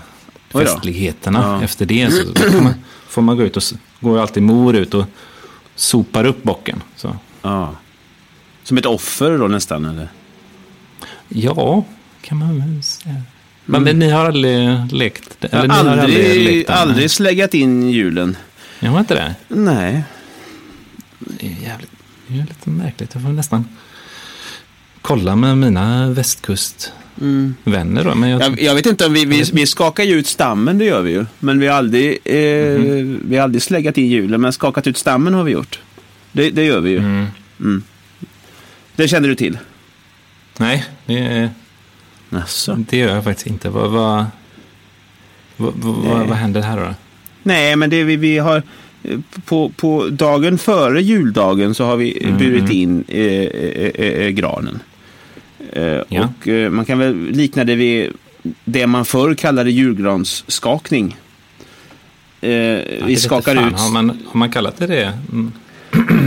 S1: Oj då.
S2: Festligheterna
S1: Ja.
S2: efter det. Så då får, man, får man gå ut och s- går ju alltid mor ut och sopar upp bocken. Så.
S1: Ja. Som ett offer då nästan, eller?
S2: Ja, kan man väl säga. Men, men ni har aldrig lekt? Eller
S1: Jag
S2: ni
S1: har
S2: har aldrig,
S1: Mm. aldrig,
S2: lekt den?
S1: aldrig släggat in hjulen.
S2: Jag har inte det?
S1: Nej.
S2: Det är ju jävligt, det är ju lite märkligt. Jag får nästan kolla med mina västkustvänner då. Men jag, Mm.
S1: Jag, jag vet inte om vi, vi, vi skakar ju ut stammen, det gör vi ju. Men vi har aldrig, eh,
S2: Mhm.
S1: vi har aldrig släggat in hjulen, men skakat ut stammen har vi gjort. Det, det gör vi ju.
S2: mm,
S1: Det känner du till?
S2: nej, det,
S1: Alltså.
S2: det gör jag faktiskt inte. Vad, vad, vad, vad,
S1: Nej.
S2: vad, vad händer här då?
S1: Nej, men det vi, vi har... eh, På, på dagen före juldagen så har vi
S2: Mhm.
S1: eh, burit in eh, eh, eh, eh, granen. Eh,
S2: Ja.
S1: Och eh, man kan väl likna det vid det man förr kallade julgransskakning. Eh,
S2: Ja, det
S1: vi
S2: vet
S1: skakar
S2: fan.
S1: ut...
S2: Har man, har man kallat det det? Mm.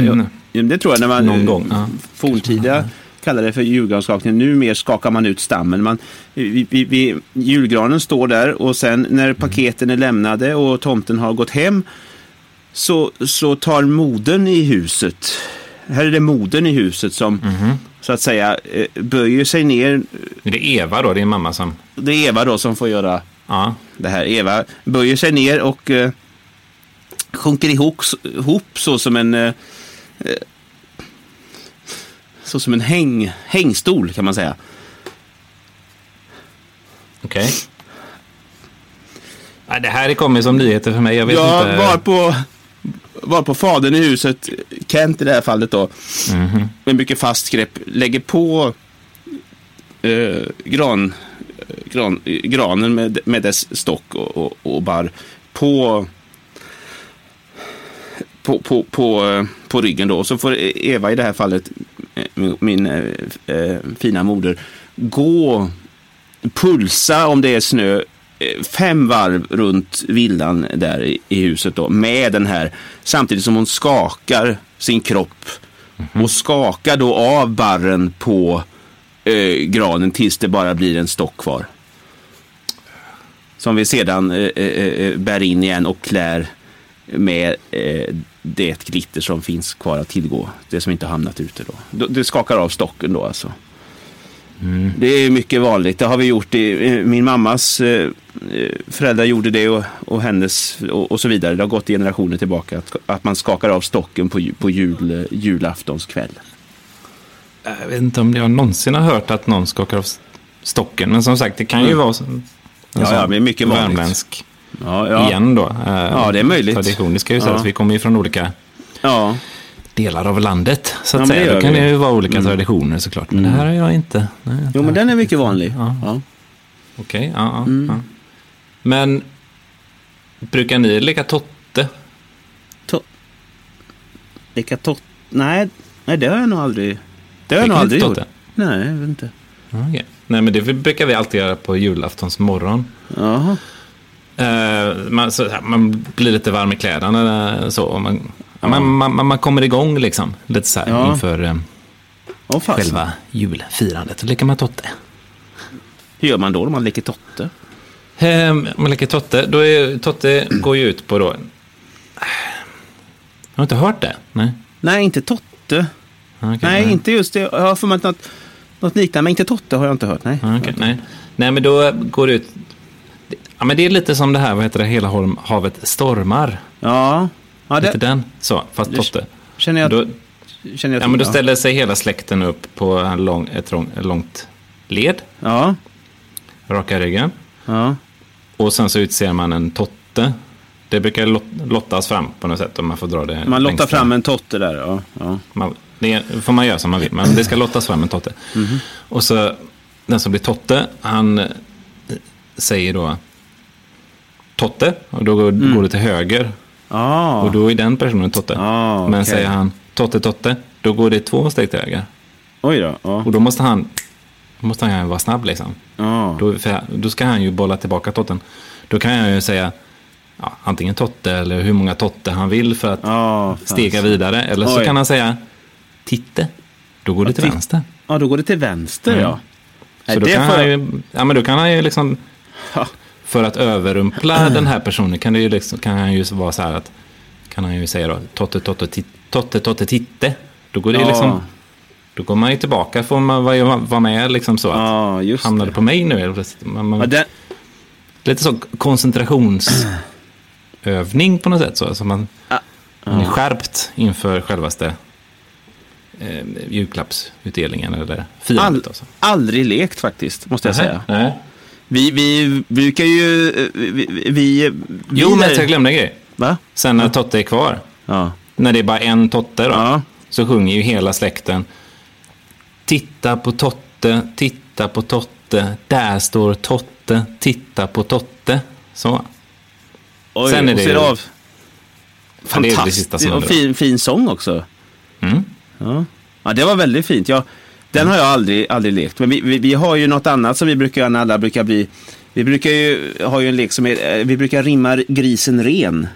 S1: *clears throat* Ja, Det tror jag när man
S2: Någon
S1: eh,
S2: gång, ja.
S1: forntida kallade det för julgransskakning. Numer skakar man ut stammen. Man, vi, vi, vi, julgranen står där och sen när paketen är lämnade och tomten har gått hem så, så tar moden i huset, här är det moden i huset som så att säga eh, böjer sig ner.
S2: Är det Eva då, din mamma som...
S1: Det är Eva då som får göra
S2: Ja,
S1: det här. Eva böjer sig ner och eh, sjunker ihop, ihop så som en eh, eh, så som en häng, hängstol kan man säga.
S2: okej. Ja, det här kommer som nyheter för mig. Jag vet
S1: Ja,
S2: inte.
S1: var på, var på fadern i huset, Kent i det här fallet då,
S2: Mhm.
S1: med mycket fast grepp lägger på eh, gran, eh, gran, granen med, med dess stock och, och, och barr på på, på, på, eh, på ryggen då. Och så får Eva i det här fallet, eh, min- min eh, eh, fina moder, gå, pulsa om det är snö, eh, fem varv runt villan där i, i huset då med den här samtidigt som hon skakar sin kropp och skakar då av barren på eh, granen tills det bara blir en stock kvar. Som vi sedan eh, eh, eh, bär in igen och klär med eh, det är ett glitter som finns kvar att tillgå. Det som inte har hamnat ute då. Det skakar av stocken då alltså. Mm. Det är mycket vanligt. Det har vi gjort. I, min mammas eh, föräldrar gjorde det och, och hennes och, och, så vidare. Det har gått generationer tillbaka att, att man skakar av stocken på, på jul, eh, julaftonskväll.
S2: Jag vet inte om jag någonsin har hört att någon skakar av stocken. Men som sagt, det kan ju mm. vara en
S1: ja, sån ja, men mycket vanligt.
S2: värmländsk ja, ja. igen då. Eh,
S1: ja, det är möjligt.
S2: Tradition. Det ska ju sägas. Ja. Vi kommer ju från olika
S1: ja.
S2: delar av landet. Så att ja, säga. Det, det kan ju vara olika mm. traditioner såklart. Men mm. det här har jag inte.
S1: Nej, jo, men den är mycket vanlig.
S2: Ja. Okej, okay, ja, mm. ja, Men brukar ni leka totte?
S1: To leka totte? Nej, nej, det har jag nog aldrig. Det har jag nog aldrig totte? gjort. Nej, jag vet inte.
S2: Okay. Nej, men det brukar vi alltid göra på julaftonsmorgon.
S1: Jaha.
S2: Uh, man, så, man blir lite varm i kläderna eh, så. Man, ja. man, man, man, kommer igång liksom. Lite så här ja. inför um, oh, själva julfirandet. Då leker man totte.
S1: Hur gör man då när man leker totte?
S2: Um, man leker totte. Då är, totte går ju ut på då... Har du inte hört det? Nej,
S1: Nej inte totte. Okay, nej, nej, inte just det. Jag har för mig något, något liknande. Men inte totte har jag inte hört. Nej,
S2: okay, nej. nej men då går det ut... Ja, men det är lite som det här, vad heter det, Hela Holm, havet stormar.
S1: Ja. ja
S2: det... Inte den? Så, fast Totte.
S1: Känner jag...
S2: Då,
S1: känner jag
S2: ja, men då ställer sig hela släkten upp på en lång, ett, lång, ett långt led.
S1: Ja.
S2: Raka ryggen.
S1: Ja.
S2: Och sen så utser man en totte. Det brukar lot, lottas fram på något sätt om man får dra det
S1: Man lottar fram en totte där, ja. ja.
S2: Man, det får man göra som man vill, men det ska lottas fram en totte.
S1: Mm -hmm.
S2: Och så den som blir totte, han eh, säger då Totte och då går, mm. går det till höger.
S1: Ah.
S2: Och då är den personen Totte.
S1: Ah, okay.
S2: Men säger han Totte, Totte, då går det två steg till höger.
S1: Oj då. Ah.
S2: Och då måste han, då måste han vara snabb liksom. Då, för, då ska han ju bolla tillbaka Totten. Då kan jag ju säga ja, antingen Totte eller hur många Totte han vill för att stega vidare. Eller så Oj. kan han säga Titte, då går det till vänster.
S1: Ja, då går det till vänster mm. ja.
S2: Så Nej, då, kan för... han ju, ja, men då kan han ju liksom... för att *clears throat* överrumpla den här personen kan, det ju liksom, kan han ju vara så här att kan han ju säga då totte totte titte, totte, totte titte. Då går det ja. liksom då går man ju tillbaka får man vara var med liksom så att
S1: ja, just
S2: hamnade
S1: det.
S2: på mig nu. Man, man, ja, den... Lite så koncentrationsövning på något sätt så alltså man, ja. man är skärpt inför självaste eh, julklappsutdelningen eller firandet. All,
S1: alltså. Aldrig lekt faktiskt måste jag
S2: nej,
S1: säga.
S2: Nej.
S1: Vi, vi brukar ju... Vi, vi, vi
S2: jo, men jag glömde en grej.
S1: Va?
S2: Sen när ja. Totte är kvar,
S1: ja.
S2: när det är bara en Totte, då,
S1: ja.
S2: så sjunger ju hela släkten Titta på Totte, titta på Totte, där står Totte, titta på Totte. Så.
S1: Oj, Sen är det, och
S2: ju,
S1: av.
S2: Fantastiskt. Det är det sista som
S1: och fin, fin sång också.
S2: Mm.
S1: Ja. ja, det var väldigt fint. Jag, den har jag aldrig, aldrig lekt. Men vi, vi, vi, har ju något annat som vi brukar göra när alla brukar bli... Vi brukar ju ha ju en lek som är... Vi brukar rimma grisen ren.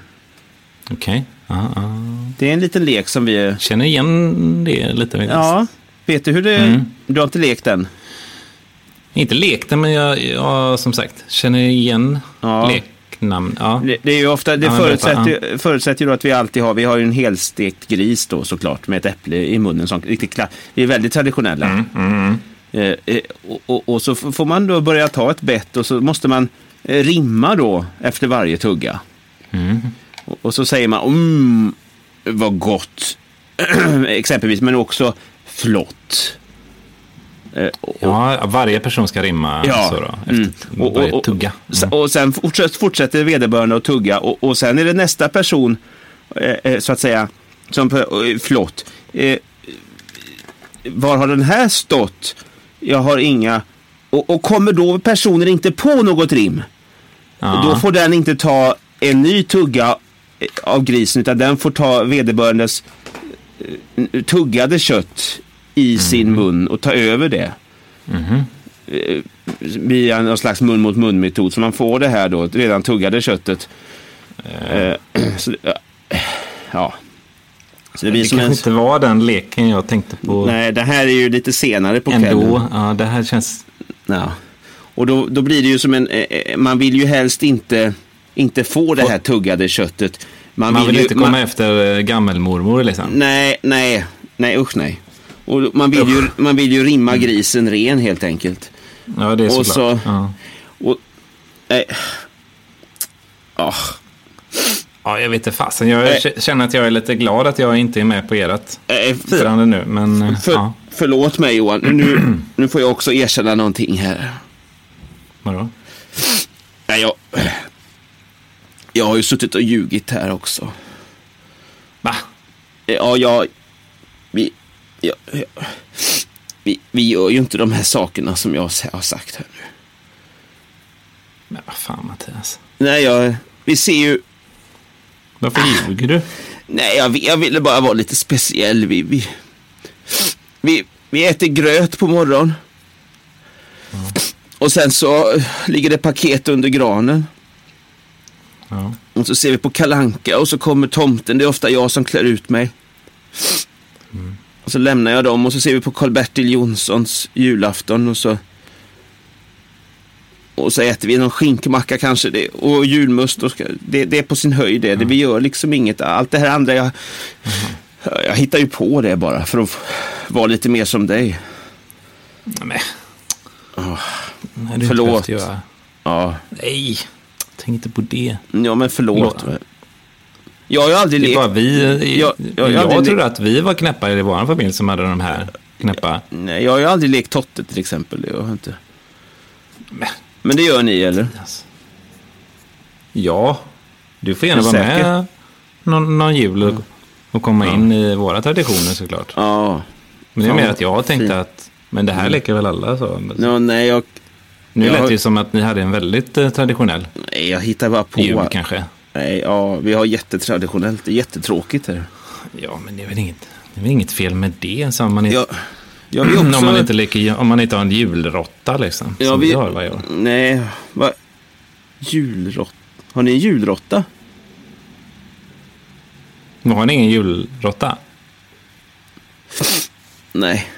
S2: Okej. Okay. Uh
S1: -uh. Det är en liten lek som vi...
S2: Känner igen det lite. Faktiskt.
S1: Ja. Vet du hur det... Mm. Du har inte lekt den?
S2: Inte lekt den, men jag, jag som sagt känner igen ja. leknamn. Ja.
S1: Det, det, är ju ofta, det ja, förutsätter, berätta, ja. förutsätter ju då att vi alltid har, vi har ju en helstekt gris då såklart med ett äpple i munnen. Som, riktigt kla, vi är väldigt traditionella.
S2: Mm, mm,
S1: mm. Eh, och, och, och, så får man då börja ta ett bett och så måste man eh, rimma då efter varje tugga. Mm. Och, och, så säger man mm, vad gott *clears throat* exempelvis men också flott.
S2: Ja, varje person ska rimma
S1: ja,
S2: så då, efter mm. och, varje tugga.
S1: Mm. Och sen fortsätter vederbörande att tugga och, och sen är det nästa person, eh, så att säga, som flott. Eh, Var har den här stått? Jag har inga. Och, och kommer då personen inte på något rim,
S2: ja.
S1: då får den inte ta en ny tugga eh, av grisen, utan den får ta vederbörandes eh, tuggade kött i sin mm. mun och ta över det. Eh,
S2: Mm.
S1: Via någon slags mun mot mun metod. Så man får det här då, redan tuggade köttet. Mm. *clears throat* Så, eh, ja.
S2: Så det, det kanske en... inte var den leken jag tänkte på.
S1: Nej, det här är ju lite senare på Ändå. kvällen.
S2: Ändå, ja det här känns...
S1: Ja. Och då, eh, då blir det ju som en, man Mm. vill ju helst inte, inte få det här tuggade köttet.
S2: Man, vill, ju, inte komma efter eh, gammelmormor liksom.
S1: Nej, nej, nej, usch nej. Och man, vill ju, man vill ju rimma
S2: Mm.
S1: grisen ren helt enkelt.
S2: Ja, det är
S1: och
S2: såklart.
S1: så-
S2: Ja.
S1: Och, nej. Ah,
S2: ja, jag vet inte fasen. Jag
S1: Nej.
S2: k- känner att jag är lite glad att jag inte är med på ert
S1: eh, för,
S2: firande nu. Men, eh,
S1: för,
S2: ja,
S1: Förlåt mig Johan, nu, nu får jag också erkänna någonting här.
S2: vadå?
S1: Nej, jag, jag har ju suttit och ljugit här också.
S2: Va?
S1: Eh, Ja, jag... Vi, ja, ja, vi, vi gör ju inte de här sakerna som jag s- har sagt här nu.
S2: Men vad fan Mattias.
S1: Nej, jag... Vi ser ju...
S2: Varför ljuger du?
S1: Nej, jag, jag ville bara vara lite speciell. Vi, vi, vi, vi äter gröt på morgonen. Och sen så eh, ligger det paket under granen.
S2: Ja.
S1: Och så ser vi på Kalanka och så kommer tomten. Det är ofta jag som klär ut mig. Och så lämnar jag dem och så ser vi på Karl-Bertil Jonssons julafton och så... Och så äter vi någon skinkmacka kanske det, och julmust. Och, ska- det, det är på sin höjd det. det. Vi gör liksom inget. Allt det här andra jag... Jag hittar ju på det bara för att f- vara lite mer som dig.
S2: Men. Nej,
S1: Förlåt.
S2: du Förlåt. Göra.
S1: Ja,
S2: Nej, tänk inte på det.
S1: ja men förlåt.
S2: Johan.
S1: Jag har ju aldrig
S2: Det
S1: lekt...
S2: var vi.
S1: Ja,
S2: Jag,
S1: ja,
S2: jag,
S1: ja, det-
S2: trodde att vi var knäppa i vår familj som hade de här knäppa.
S1: Nej, jag har ju aldrig lekt totte till exempel. Det har jag inte.
S2: Men,
S1: Men det gör ni eller?
S2: alltså. Ja, du får gärna
S1: Är du
S2: vara
S1: säker? Mm.
S2: med någon, någon jul och, och komma in i våra traditioner såklart.
S1: Ja.
S2: Men det är
S1: Fan,
S2: mer att jag tänkte
S1: fint. Mm.
S2: att men det här leker väl alla så.
S1: Nå, nej, jag,
S2: nu
S1: jag
S2: lät
S1: har-
S2: det ju som att ni hade en väldigt eh, traditionell
S1: nej, jag hittar bara på.
S2: jul kanske.
S1: Nej, ja, vi har jättetraditionellt. Det är jättetråkigt här.
S2: Ja, men det är väl inget, det är väl inget fel med det. Så om, man inte,
S1: Jag, jag vill också...
S2: *clears throat* om, man inte leker, om man inte har en julrotta liksom.
S1: jag
S2: som
S1: vill-
S2: vi har varje år.
S1: Nej, vad... Julrott... Har ni en julrotta?
S2: Men Har ni ingen julrotta?
S1: Nej.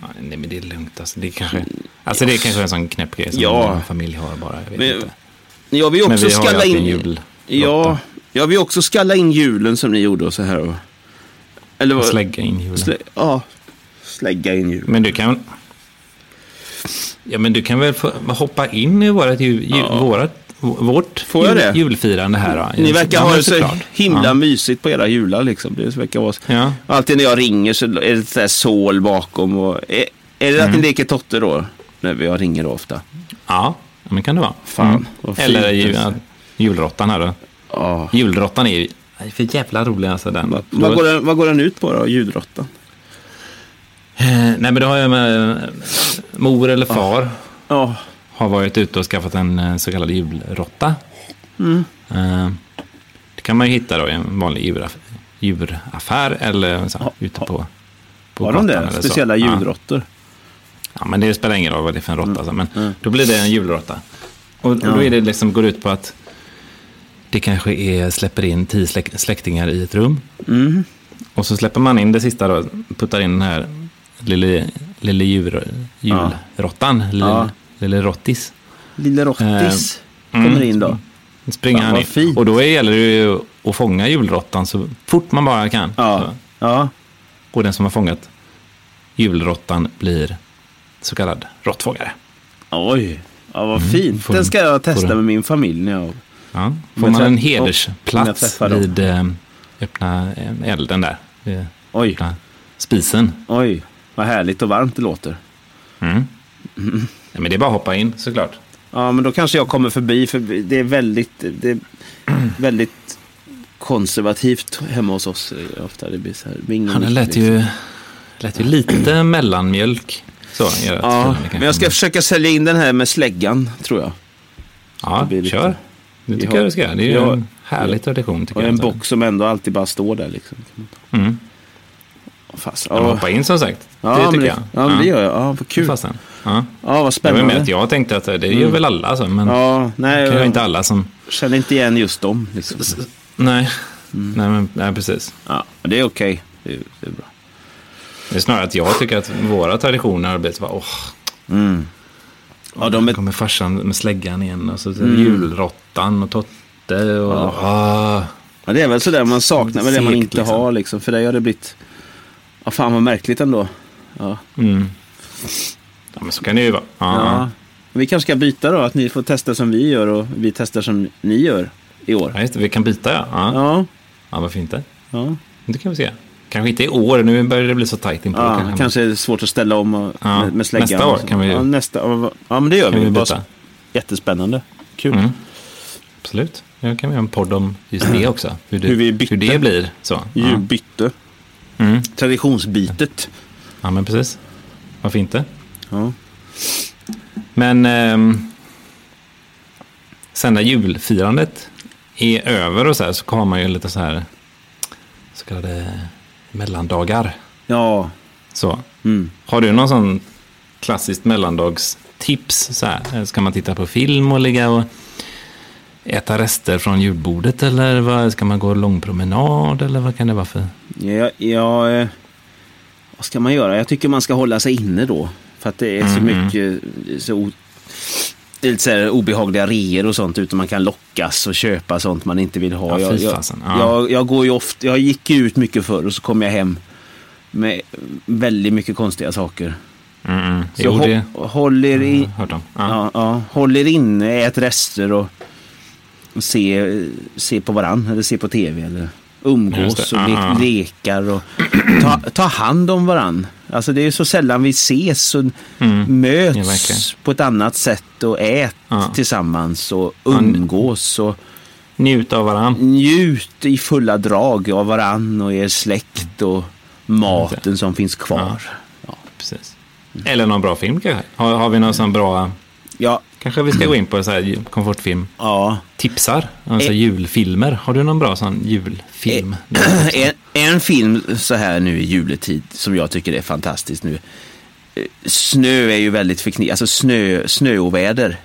S2: Ja, Nej, men det är lugnt. Alltså, det, är kanske, alltså, det är kanske en sån knäpp grej som
S1: Ja.
S2: min familj har bara. Jag vet
S1: Men-
S2: inte.
S1: Jag vill också
S2: Men vi har ju
S1: skalla
S2: alltid
S1: in...
S2: en julrotta.
S1: Ja, jag vill också skalla in julen som ni gjorde och så här. Och... Eller
S2: Och
S1: vad...
S2: Slägga in julen.
S1: Slä... Ja, slägga in julen.
S2: Men du kan... Ja, men du kan väl få hoppa in i vårt, ju, ju, vårat, vårt
S1: Får jag
S2: jul,
S1: det?
S2: julfirande här. Då.
S1: Ni verkar
S2: Ja,
S1: ha
S2: men
S1: det så
S2: såklart.
S1: himla
S2: Ja.
S1: mysigt på era jular liksom. Det verkar vara så.
S2: Ja.
S1: Alltid när jag ringer så är det så här sål bakom. Och, är, är det att
S2: Mm.
S1: ni leker totte då? När jag ringer då ofta.
S2: ja, men det kan det vara.
S1: Fan, vad fint
S2: Eller ju,
S1: alltså.
S2: julrottan här då.
S1: Ja.
S2: Julrottan är ju Nej, för jävla rolig alltså den.
S1: Vad, vad, går den, vad går den ut på då, ljudrottan?
S2: Eh, Nej men det har jag med eh, mor eller far
S1: Ja.
S2: har varit ute och skaffat en eh, så kallad julrotta.
S1: Mm.
S2: Eh, Det kan man ju hitta då i en vanlig djuraff- djuraffär eller så, här, ute på, på
S1: Har de
S2: gatan
S1: det?
S2: eller så.
S1: Speciella
S2: Ja.
S1: ljudrottor?
S2: Ja, men det spelar ingen roll vad det är för en
S1: Mm.
S2: råtta. alltså. Men då blir det en julrotta. Och, och då är det liksom, går det ut på att det kanske är, släpper in tio släk, släktingar i ett rum.
S1: Mm.
S2: Och så släpper man in det sista då, puttar in den här lille, lille djur, julrottan, lille,
S1: Ja.
S2: lille rottis.
S1: Lille Rottis
S2: Eh, mm.
S1: kommer in då.
S2: Då springer
S1: Ja,
S2: han
S1: vad
S2: in.
S1: fint.
S2: Och då gäller det ju att fånga julrottan så fort man bara kan.
S1: Ja.
S2: Så.
S1: ja.
S2: Och den som har fångat julrottan blir så kallad råttfångare.
S1: Oj. Ja, vad fint.
S2: Mm, får
S1: Den
S2: du-
S1: ska jag
S2: får
S1: testa
S2: du.
S1: med min familj när jag...
S2: Ja,
S1: Om
S2: får
S1: jag
S2: man en
S1: träff- om jag
S2: hedersplats
S1: träffar dem.
S2: vid eh, öppna eh, elden där. Vid
S1: Oj.
S2: öppna spisen.
S1: Oj, vad härligt och varmt det låter. Mm.
S2: Ja, men det är bara att hoppa in såklart.
S1: Ja, men då kanske jag kommer förbi, för det är väldigt, det
S2: *clears throat*
S1: är väldigt konservativt hemma hos oss. eh, Ofta det blir så här, det blir ingen liksom-
S2: Han lät
S1: riktig-
S2: ju, lät ju lite *clears throat* mellanmjölk. Så, är det
S1: Ja,
S2: kanske.
S1: men jag ska försöka sälja in den här med släggan, tror jag. det
S2: Ja,
S1: blir lite-
S2: kör. Det
S1: Vi
S2: tycker
S1: har-
S2: jag du ska göra. Det är ju
S1: vi har-
S2: en härlig tradition tycker
S1: Och
S2: jag.
S1: en box som ändå alltid bara står där liksom.
S2: Mm.
S1: Fast,
S2: Ja, men
S1: ja,
S2: hoppa in som sagt.
S1: ja,
S2: det
S1: men
S2: tycker
S1: det,
S2: jag.
S1: ja, men det gör jag. Ja, vad kul.
S2: Fast sen. Ja.
S1: Ja, vad
S2: Det var mer
S1: spännande. Mm.
S2: att jag tänkte att det gör väl alla alltså, men
S1: Ja, nej,
S2: det kan ju inte
S1: jag
S2: alla som...
S1: känner inte igen just dem. Liksom.
S2: Nej,
S1: Mm.
S2: nej, men, nej precis.
S1: Ja, men det är okej. Det, är- det är bra.
S2: Det är snarare att jag tycker att våra traditioner har blivit så bara, åh,
S1: Ja, de
S2: Då
S1: är,
S2: kommer farsan med släggan igen och så mm. julrottan och tot, matte och... Ah.
S1: Ja, det är väl sådär man saknar väl det man
S2: Segt,
S1: inte
S2: liksom.
S1: har liksom. För dig har det blivit... Ja, fan vad märkligt ändå. Ja.
S2: Mm. Ja, men så kan det ju vara.
S1: Ja.
S2: Ja,
S1: Vi kanske ska byta då, att ni får testa som vi gör och vi testar som ni gör i år.
S2: ja just det. Vi kan byta, ja. Ja,
S1: Ja,
S2: ja varför inte?
S1: ja.
S2: Det kan vi se. Kanske inte i år, nu börjar det bli så tajt inpå.
S1: ja kanske är det svårt att ställa om och,
S2: Ja,
S1: med, med släggan.
S2: nästa år
S1: och så.
S2: kan vi ju-
S1: Ja, nästa, ja, ja, men det gör
S2: Kan
S1: vi.
S2: vi
S1: Bara
S2: byta?
S1: s- Jättespännande. Kul.
S2: Mm. Absolut. Nu kan vi göra en podd om just det också. Hur det,
S1: Hur vi bytte.
S2: hur det blir. Så. Ja.
S1: Djurbyte.
S2: Mm.
S1: Traditionsbytet.
S2: ja, men precis. Varför inte?
S1: Ja.
S2: Men ehm, sen när julfirandet är över och så här så har man ju lite så här så kallade mellandagar.
S1: ja.
S2: Så.
S1: Mm.
S2: Har du någon sån klassiskt mellandagstips? Så här? eh, Ska man titta på film och ligga och äta rester från julbordet? Eller vad, ska man gå lång promenad? Eller vad kan det vara för?
S1: Ja, ja, eh, vad ska man göra? Jag tycker man ska hålla sig inne då. För att det är så
S2: Mhm.
S1: mycket eh, så, o- det är lite så här obehagliga reor och sånt utan man kan lockas och köpa sånt man inte vill ha.
S2: Ja,
S1: jag,
S2: fy
S1: jag,
S2: fasen. Ja.
S1: jag, jag, går ju ofta, jag gick ju ut mycket förr och så kom jag hem med väldigt mycket konstiga saker.
S2: Mm.
S1: Så
S2: Jo,
S1: hå-
S2: det
S1: håll, er
S2: har jag
S1: i,
S2: hört om. Ja.
S1: ja, ja, håll er inne, ät rester och se, se på varann eller se på tv. Eller
S2: Just
S1: umgås
S2: det. Ah,
S1: och
S2: Ja,
S1: le-
S2: ja.
S1: lekar och *clears throat* ta, ta hand om varann. Alltså det är ju så sällan vi ses och
S2: Mm. Ja,
S1: möts
S2: verkligen.
S1: på ett annat sätt och ät
S2: Ja.
S1: tillsammans och umgås och
S2: Njut av
S1: Mm.
S2: varandra.
S1: njut i fulla drag av varann och er släkt och maten som finns kvar.
S2: Precis. Eller någon bra film kanske. Har, har vi någon sån bra...
S1: Ja,
S2: Kanske vi ska gå in på så här komfortfilm.
S1: ja.
S2: Tipsar?
S1: Eh.
S2: Alltså julfilmer. Har du någon bra sån julfilm?
S1: *clears throat* en, en film så här nu i juletid som jag tycker är fantastisk nu. Eh, Snö är ju väldigt förknippat, alltså snö, snöoväder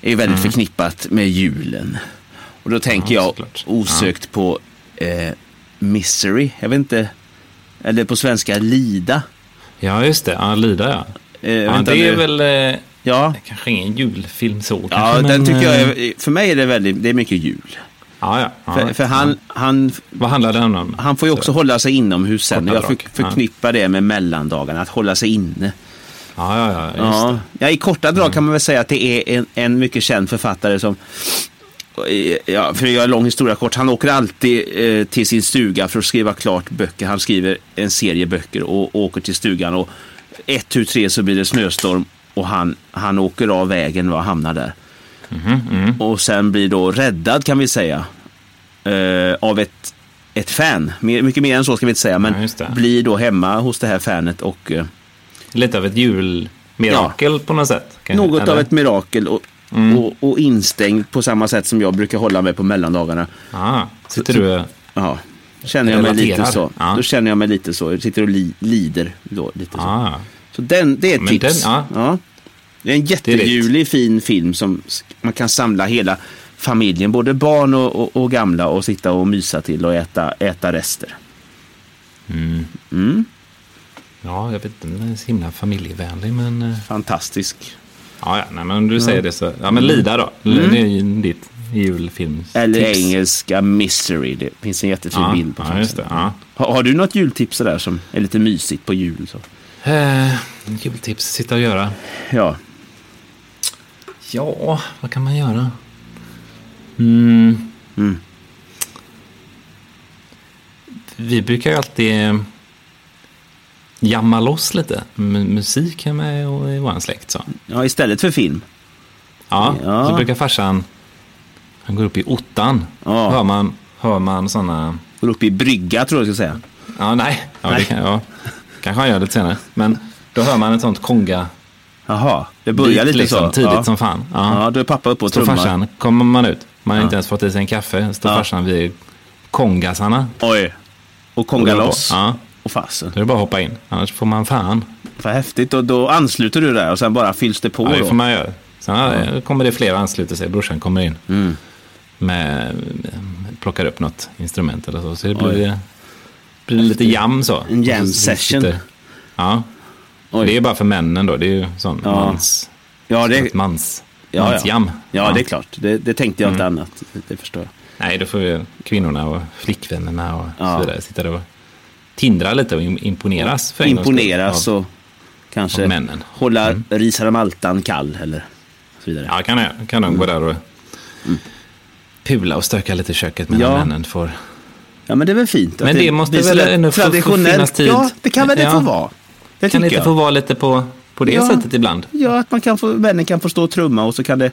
S1: är ju väldigt förknippat med julen. Och då tänker
S2: Mm. Ja,
S1: jag
S2: såklart.
S1: osökt på eh, Misery, jag vet inte, eller på svenska Lida.
S2: Ja, just det. Ja, Lida ja.
S1: Eh,
S2: ja
S1: vänta
S2: det är
S1: nu.
S2: väl eh,
S1: Ja,
S2: kanske ingen julfilm så.
S1: ja
S2: kanske,
S1: den
S2: men,
S1: tycker jag
S2: eh,
S1: är, för mig är det väldigt, det är mycket jul.
S2: Ja, ja. ja
S1: för för han, han
S2: Vad handlar den om?
S1: Han får ju också hålla sig inomhus sen.
S2: Korta
S1: Jag för,
S2: drag.
S1: förknippar det med mellandagarna, att hålla sig inne.
S2: Ja, ja, ja. Just
S1: Ja. ja, i korta drag kan man väl säga att det är en, en mycket känd författare som Ja, för att göra en lång historia kort, han åker alltid eh, till sin stuga för att skriva klart böcker. Han skriver en serie böcker och åker till stugan och ett, tu, tre så blir det snöstorm och han, han åker av vägen och hamnar där.
S2: Mhm,
S1: Och sen blir då räddad kan vi säga eh, av ett, ett fan. Mer, mycket mer än så ska vi inte säga, men
S2: Ja, just det.
S1: blir då hemma hos det här fanet och eh,
S2: det. Lite av ett julmirakel på något sätt. kanske,
S1: Något
S2: eller? Mm.
S1: av ett mirakel och, och, och instängd på samma sätt som jag brukar hålla mig på mellandagarna.
S2: Ja, sitter du...
S1: Ja. Känner jag mig
S2: Relaterar.
S1: lite så.
S2: Ja.
S1: Då känner jag mig lite så. Jag sitter och li, lider då. Lite så.
S2: Ja, ja.
S1: så den, det är ett
S2: Men
S1: tips.
S2: den- ja.
S1: Det är en jättejulig fin film som s- man kan samla hela familjen, både barn och, och, och gamla och sitta och mysa till och äta, äta rester.
S2: ja, jag vet inte. Den är så himla familjevänlig, men... eh,
S1: Fantastisk.
S2: Ja, ja. Nej, men om du säger det så... Ja, men Lida då. Det är ju ditt julfilmstips.
S1: Mm. Eller engelska Misery. Det finns en jättefin
S2: ja,
S1: bild på
S2: Ja,
S1: framsidan.
S2: just det. Ja.
S1: Har, har du något jultips sådär som är lite mysigt på jul? Så?
S2: Eh, jultips, sitta och göra.
S1: Ja.
S2: Ja, vad kan man göra? Mm.
S1: Mm.
S2: Vi brukar ju alltid eh, jamma loss lite. M- musik hemma och i vår släkt. Så.
S1: ja, istället för film.
S2: Ja,
S1: Ja.
S2: så brukar farsan, han går upp i ottan.
S1: Ja.
S2: Hör man, hör man sådana,
S1: Går upp i brygga tror jag jag ska säga.
S2: ja nej, ja,
S1: Nej.
S2: Det kan, ja. kanske han gör lite senare. Men då hör man ett sånt konga
S1: Jaha, det börjar lite
S2: liksom,
S1: så.
S2: tidigt
S1: ja.
S2: som fan.
S1: Ja, då är pappa uppe och
S2: Står
S1: trummar.
S2: farsan, kommer man ut. Man har inte ens fått i sig en kaffe. Står
S1: Ja.
S2: farsan vid kongasarna.
S1: Oj. Och konga loss.
S2: Ja,
S1: Och fasen.
S2: då är det bara att hoppa in. Annars får man fan.
S1: Vad häftigt. Och då ansluter du där och sen bara fylls det på.
S2: Ja, det
S1: då.
S2: får man göra. Sen ja. kommer det fler och ansluter sig. Brorsan kommer in.
S1: Mm.
S2: Med, med, plockar upp något instrument eller så. Så det blir,
S1: Oj.
S2: det blir lite jam så.
S1: En jam
S2: Och så sitter-
S1: session.
S2: Ja.
S1: Oj.
S2: Det är bara för männen då. Det är ju sån
S1: Ja.
S2: mans,
S1: ja, det,
S2: ett mans,
S1: Ja, ja.
S2: mansjam. Mm.
S1: ja, det är klart. Det, det tänkte jag inte annat. Det förstår jag.
S2: Nej, då får ju kvinnorna och flickvännerna och
S1: Ja.
S2: så vidare sitta där och tindra lite och im- imponeras. För en gångs skull
S1: Imponeras
S2: av-
S1: och kanske
S2: av männen. Mm.
S1: hålla risar maltan kall eller så vidare.
S2: Ja, kan, jag, kan de gå där och pula och stöka lite i köket medan
S1: Mm. Ja.
S2: männen får...
S1: Ja, men det är väl fint. att
S2: Men det måste
S1: blir
S2: väl
S1: sådär
S2: ändå få- få
S1: traditionellt.
S2: finnas tid.
S1: Ja, det kan väl det
S2: Ja.
S1: få vara. Det
S2: kan
S1: tycker
S2: lite
S1: jag.
S2: få vara lite på, på det
S1: Ja.
S2: sättet ibland.
S1: Ja, att man kan få, männen kan få stå och trumma och så kan det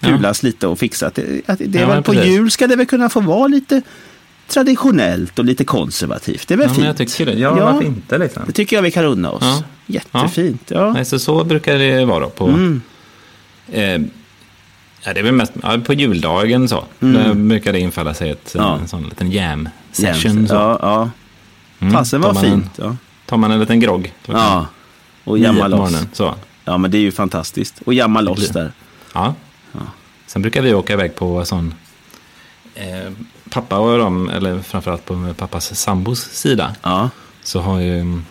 S1: pulas lite och fixas. Det, att det är
S2: Ja,
S1: väl,
S2: men
S1: på
S2: precis.
S1: jul ska det väl kunna få vara lite traditionellt och lite konservativt. Det är väl
S2: Ja,
S1: fint.
S2: men jag tycker det. Ja, varför inte liksom?
S1: Det tycker jag vi kan unna oss.
S2: Ja.
S1: Jättefint. Ja.
S2: Nej, så, så brukar det vara då på...
S1: Mm.
S2: Eh, ja, det är väl mest, ja, på juldagen så. Där brukar det infalla sig ett,
S1: Mm. Ja.
S2: en sån liten jam-session.
S1: Jämt.
S2: så.
S1: Ja, ja.
S2: Mm,
S1: Fasen var
S2: tar man en-
S1: fint. Ja.
S2: Tar man en liten grogg klockan
S1: ja. Och
S2: nio på
S1: jamma loss.
S2: morgonen. Så.
S1: Ja, men det är ju fantastiskt. Och jamma loss där.
S2: Ja. Sen brukar vi åka iväg på sån... Eh, pappa och de, eller framförallt på pappas sambos sida,
S1: Ja,
S2: så har ju mm,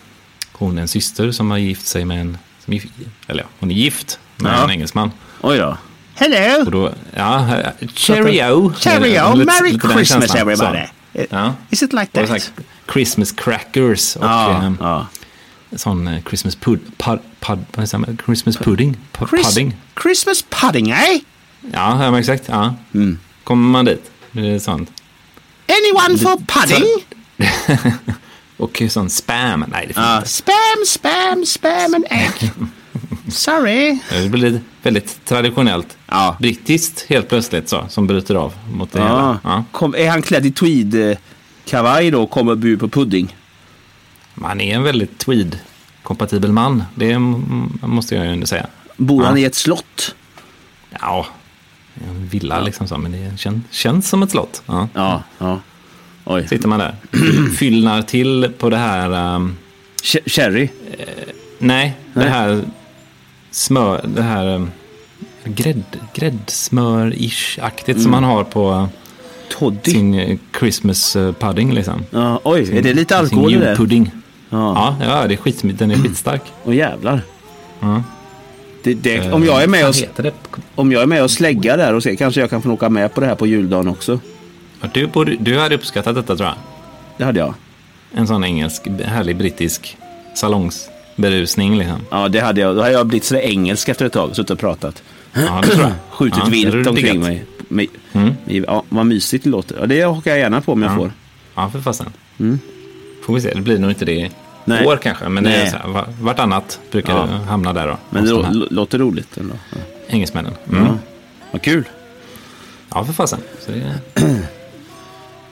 S2: hon en syster som har gift sig med en... Som, gif- eller ja, hon är gift med
S1: Ja.
S2: en engelsman.
S1: oj då.
S2: Och
S1: Hello!
S2: då, ja, eh, cheerio.
S1: Cheerio!
S2: Lite-
S1: Merry
S2: lite den
S1: Christmas
S2: känslan.
S1: everybody!
S2: Så. Ja.
S1: Is it like that?
S2: Och så här Christmas crackers och
S1: ja,
S2: ehm,
S1: ja.
S2: sån eh, Christmas pud, pud, pud, vad säger man? Christmas pudding? Pud,
S1: Chris-
S2: pudding?
S1: Christmas pudding, eh?
S2: Ja, ja, men exakt. Ja.
S1: Mm.
S2: Kommer man dit, det är sånt.
S1: Anyone for pudding?
S2: Och sån spam. Nej, det finns
S1: Ja.
S2: inte.
S1: Spam, spam, spam and
S2: *laughs*
S1: egg. Sorry.
S2: Det blir lite- väldigt traditionellt.
S1: Ja.
S2: Brittiskt helt plötsligt så, som bryter av mot det
S1: Ja.
S2: hela. Ja.
S1: Ah. Kom, är han klädd i tweed-kavaj då och kommer och bjuder på pudding?
S2: Man är en väldigt tweed-kompatibel man. Det mm, måste jag ju ändå säga.
S1: Bor
S2: Ja.
S1: han i ett slott?
S2: Ja, en villa liksom så, men det kän, känns som ett slott. Ja.
S1: Ja, ja. Oj.
S2: Sitter man där, *clears throat* fyllnar till på det här, ehm,
S1: Che- Cherry?
S2: nej, det
S1: Nej.
S2: här smör, det här um, grädd, gräddsmör-ish-aktigt
S1: Mm.
S2: som man har på
S1: Toddy?
S2: sin eh, Christmas eh, pudding liksom.
S1: Ja, oj, är det lite
S2: Sin
S1: alkohol i det?
S2: Julpudding.
S1: Ja, Mm.
S2: Ja, ja det är skit, den är skitstark.
S1: och jävlar.
S2: Ja. Eh,
S1: Det, det, om, jag är med
S2: Vad
S1: och,
S2: heter det?
S1: om jag är med och släggar där och ser, kanske jag kan få åka med på det här på juldagen också.
S2: Du, borde, du hade uppskattat detta tror jag.
S1: Det hade jag.
S2: En sån engelsk, härlig brittisk
S1: *clears throat*
S2: salongsberusning liksom.
S1: Ja, det hade jag. Då hade jag blivit sådär engelsk efter ett tag, suttit och pratat.
S2: Ja, det tror jag.
S1: Skjutit
S2: Ja, det hade
S1: vilt
S2: du
S1: omkring
S2: diggat.
S1: mig. Med, med, ja, vad mysigt det låter. Ja, det hakar jag gärna på om jag får.
S2: Ja, för fasen. Får vi se, det blir nog inte det i
S1: Mm. Nej.
S2: år kanske, men det är
S1: Nej.
S2: så här, va- vartannat brukar
S1: Ja.
S2: det hamna där då.
S1: Men
S2: hos
S1: det
S2: de
S1: lå-
S2: här
S1: lå- låter roligt ändå. Ja.
S2: engelsmännen. Mm.
S1: Ja. Vad kul.
S2: Ja, för fasen. Så det...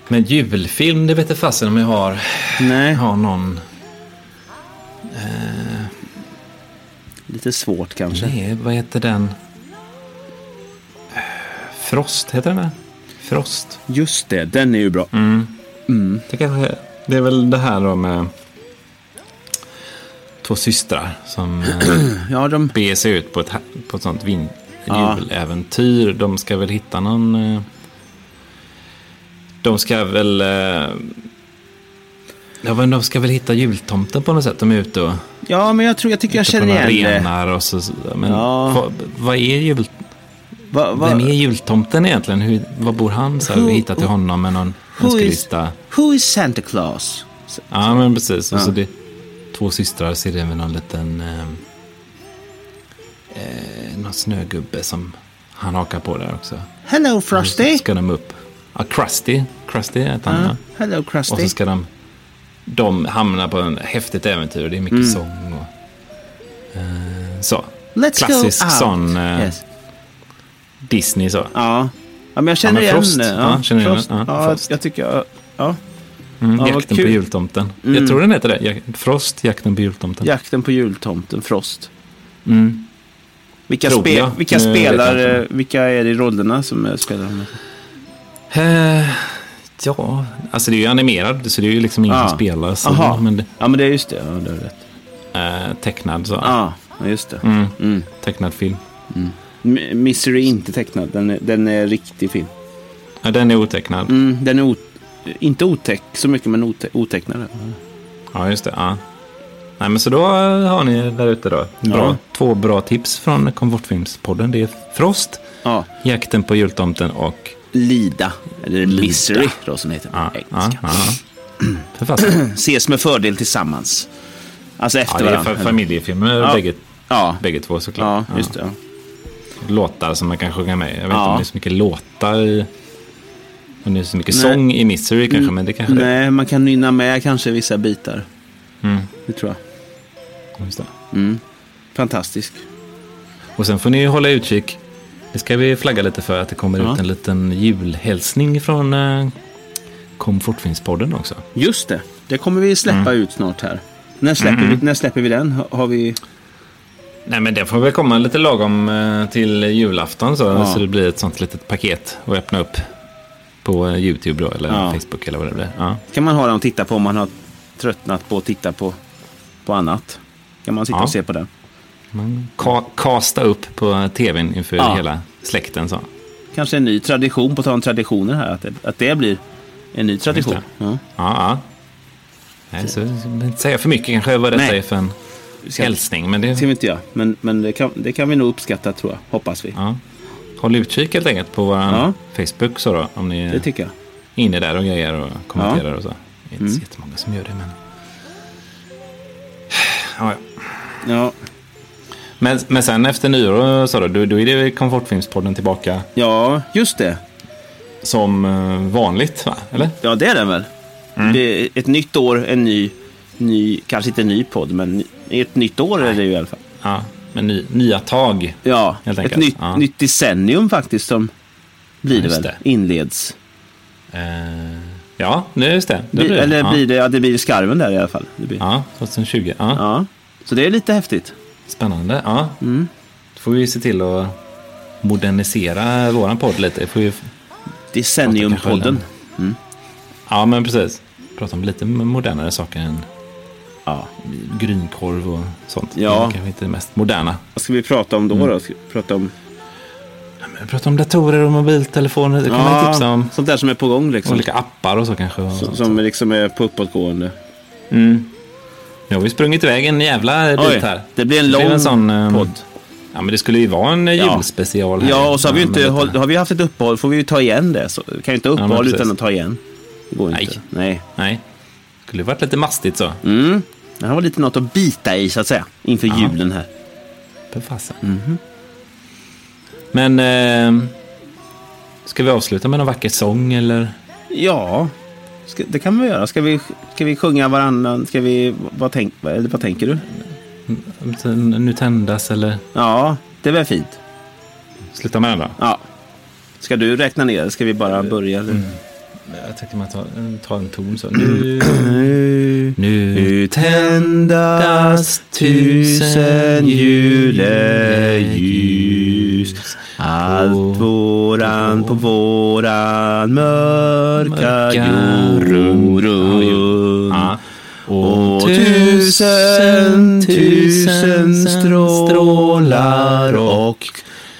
S2: Men julfilm, det vete fasen om jag har,
S1: Nej,
S2: har någon...
S1: lite svårt kanske.
S2: Nej, vad heter den? Eh, Frost, heter den det? Frost.
S1: Just det, den är ju bra.
S2: Mm.
S1: Mm.
S2: Det, kanske, det är väl det här då med två systrar som... eh,
S1: *clears throat* Ja, de...
S2: bege sig ut på ett, ha- på ett sånt vin-
S1: Ja.
S2: juläventyr. De ska väl hitta någon... eh, De ska väl... eh, Ja, men de ska väl hitta jultomten på något sätt. De är ute och...
S1: Ja, men jag tror jag tycker jag
S2: ute på
S1: känner
S2: några
S1: igen det.
S2: renar och så... Men
S1: Ja.
S2: vad, vad är jul...
S1: Va, va,
S2: Vem är jultomten egentligen? Hur, var bor han? Så här, vi hittar till honom med någon
S1: who, is,
S2: önskelista.
S1: who is Santa Claus? S-
S2: Ja, men precis. Och så det, två systrar ser även någon liten... Eh, eh, någon snögubbe som han hakar på där också.
S1: Hello
S2: Så
S1: Frosty!
S2: ska de upp. Ja, Krusty. Krusty heter han,
S1: Ja,
S2: ja.
S1: hello
S2: Och
S1: Krusty.
S2: så ska de... De hamnar på en häftigt äventyr. Det är
S1: Mm.
S2: mycket sång och... Eh, så.
S1: Let's
S2: Klassisk
S1: go out.
S2: sån eh,
S1: Yes.
S2: Disney så.
S1: Ja. ja, men jag känner
S2: Ja, men
S1: igen
S2: Frost.
S1: det.
S2: Ja, känner igen
S1: Frost.
S2: det. Ja,
S1: Ja,
S2: Frost.
S1: jag tycker jag... Ja.
S2: Mm,
S1: vad
S2: jakten på
S1: kul. Mm.
S2: jultomten. Jag tror den heter det. Jak- Frost, jakten på jultomten.
S1: Jakten på jultomten, Frost.
S2: Mm.
S1: Vilka,
S2: Tror
S1: spe,
S2: jag.
S1: vilka
S2: Nu vet jag
S1: spelar,
S2: inte.
S1: eh, vilka är det i rollerna som eh, spelar honom?
S2: Eh, ja, alltså det är ju animerad så det är ju liksom ingen
S1: Ja.
S2: som spelar så.
S1: Ah. Aha.
S2: Men det-
S1: Ja, men det är just det. Ja, du har rätt.
S2: eh, tecknad så.
S1: Ja, ja just det.
S2: Mm,
S1: Mm.
S2: tecknad film.
S1: M- Misery är inte tecknad, den är, den är riktig film.
S2: Ja, den är otecknad.
S1: Mm, den är ot- inte otäck så mycket, men ote- otecknad.
S2: Ja, just det. Ja. Nej, men så då eh, har ni där ute då. Bra,
S1: Ja.
S2: Två bra tips från Komfortfilmspodden. Det är Frost,
S1: Ja,
S2: Jakten på jultomten och
S1: Lida, eller Misery då som det heter på
S2: Ja, ja,
S1: engelska.
S2: *clears throat* ja. För fasen.
S1: *clears throat* Ses med fördel tillsammans. Alltså
S2: Ja,
S1: efter
S2: det är
S1: varandra.
S2: fa- familjefilmer
S1: Ja.
S2: bägge,
S1: ja.
S2: bägge två såklart.
S1: ja, just det. Ja.
S2: Låtar som man kan sjunga med. Jag vet inte
S1: Ja.
S2: om det är så mycket låtar i... Om det är så mycket
S1: Nej. Mm.
S2: sång i Misery kanske, men det kanske det
S1: Nej, man kan nynna med kanske vissa bitar.
S2: Mm.
S1: Det tror jag.
S2: är. Just det.
S1: Fantastisk.
S2: Och sen får ni hålla utkik. Det ska vi flagga lite för att det kommer
S1: Ja.
S2: ut en liten julhälsning från eh, Komfortfilmspodden också.
S1: Just det. Det kommer vi släppa
S2: Mm.
S1: ut snart här. När släpper, vi, när släpper vi den? Har- Har vi...
S2: Nej men det får väl komma lite lagom eh, till julafton så,
S1: Ja.
S2: så det blir ett sånt litet paket att öppna upp på eh, YouTube då, eller
S1: Ja.
S2: Facebook eller vad det blir. Ja.
S1: kan man ha den och titta på om man har tröttnat på att titta på, på annat. kan man sitta
S2: Ja.
S1: och se på den.
S2: Man ka- kasta upp på eh, tvn inför
S1: Ja.
S2: hela släkten. Så.
S1: Kanske en ny tradition, på tal om traditioner här, att det, att det blir en ny tradition.
S2: Just
S1: Ja.
S2: Ja, ja. Nej, så, så, inte säga för mycket kanske vad detta
S1: Nej.
S2: är för en
S1: Ska-
S2: hälsning. Men
S1: Det ska
S2: det,
S1: vi inte göra, men, men det, kan, det kan vi nog uppskatta tror jag, hoppas vi.
S2: ja. Håll utkik helt enkelt på vår
S1: Ja.
S2: Facebook så då, om ni
S1: Det tycker jag.
S2: är inne där och grejer och kommenterar och så. Det är
S1: Mm.
S2: inte så jättemånga som gör det, men... Ja, ja.
S1: Ja,
S2: Men, men sen efter nyår så då, då, då är det Komfortfilmspodden tillbaka
S1: ja just det.
S2: som eh, vanligt, va? Eller?
S1: Ja, det är den väl. Det är ett nytt år, en ny, ny, kanske inte en ny podd, men ny- ett nytt år är det ju i alla fall.
S2: Ja, men ny, nya tag.
S1: Ja,
S2: Helt
S1: ett
S2: enkelt,
S1: nytt,
S2: ja.
S1: nytt decennium faktiskt som blir
S2: Ja,
S1: det
S2: just
S1: väl,
S2: det.
S1: inleds.
S2: Eh, ja, nu just det. Det
S1: Bli,
S2: blir det.
S1: eller
S2: ja.
S1: blir det, ja, det blir skarven där i alla fall. Det blir, ja.
S2: Ja, 2020. Ja,
S1: Så det är lite häftigt.
S2: Spännande. Ja.
S1: Mm.
S2: Då får vi se till att modernisera våran podd lite. Får vi, Prata
S1: Decenniumpodden.
S2: kanske ja, men precis. Prata om lite modernare saker än
S1: Ja.
S2: grynkorv och sånt.
S1: Ja.
S2: Det är kanske inte det mest moderna.
S1: Vad ska vi prata om då? då? Ska vi prata om...
S2: Men prata om datorer och mobiltelefoner. Det kan man tipsa om.
S1: Sånt där som är på gång liksom.
S2: Olika appar och så kanske. och
S1: Som,
S2: sånt.
S1: som liksom är på uppåtgående.
S2: Nu har vi sprungit iväg en jävla
S1: Oj,
S2: bit här.
S1: det blir en
S2: blev
S1: lång
S2: ehm,
S1: podd.
S2: Ja, men det skulle ju vara en eh,
S1: Ja.
S2: julspecial. Här.
S1: Ja, och så har vi ju
S2: Ja,
S1: inte,
S2: men
S1: håll-
S2: lite-
S1: har vi haft ett uppehåll får vi ju ta igen det. Så, kan ju inte ha
S2: men
S1: uppehåll
S2: precis.
S1: utan att ta igen. Det går ju inte.
S2: Nej.
S1: Nej.
S2: Nej, skulle ju varit lite mastigt så.
S1: Mm. Det här var lite något att bita i så att säga. Inför
S2: Ja.
S1: julen här.
S2: För fasen. Mhm. Men ehm, ska vi avsluta med någon vacker sång eller?
S1: Ja, ska, det kan vi göra. Ska vi, ska vi sjunga varannan? Ska vi, vad, tänk, eller vad tänker du?
S2: Nu tändas eller
S1: Ja, det är väl fint.
S2: sluta med den då?
S1: Ja. Ska du räkna ner? Ska vi bara börja?
S2: Mm.
S1: eller?
S2: Jag tänkte man tar, tar en ton så. Nu,
S1: Nu,
S2: *clears throat* nu
S1: nu tändas tusen juleljus Allt våran på våran mörka jord
S2: Ja.
S1: runt
S2: Och
S1: Och tusen, tusen strålar och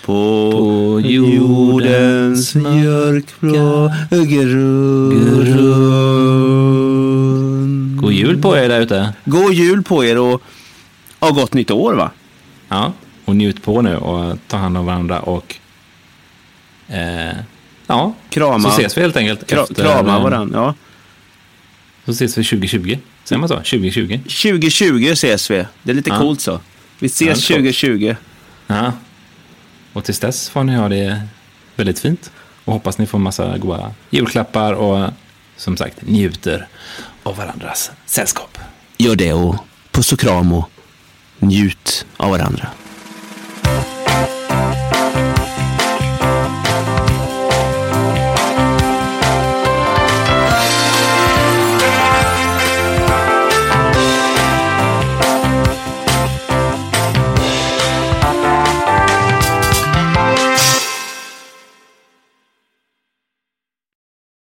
S1: på jordens mörkblå grund.
S2: God jul på er där ute.
S1: God jul på er och ja, gott nytt år va?
S2: Ja. Och njut på nu och ta hand om varandra och eh, ja,
S1: Krama,
S2: så ses vi helt enkelt.
S1: kra,
S2: efter-
S1: krama varandra. Ja.
S2: Så ses vi 2020. Säger man så? 2020?
S1: 2020 ses vi. Det är lite
S2: Ja.
S1: coolt så. Vi
S2: Ja, det
S1: ses
S2: är coolt.
S1: 2020.
S2: Ja. Och tills dess får ni ha det väldigt fint. Och hoppas ni får massa goda julklappar och som sagt njuter av varandras sällskap.
S1: Gör det och puss och kram och njut av varandra.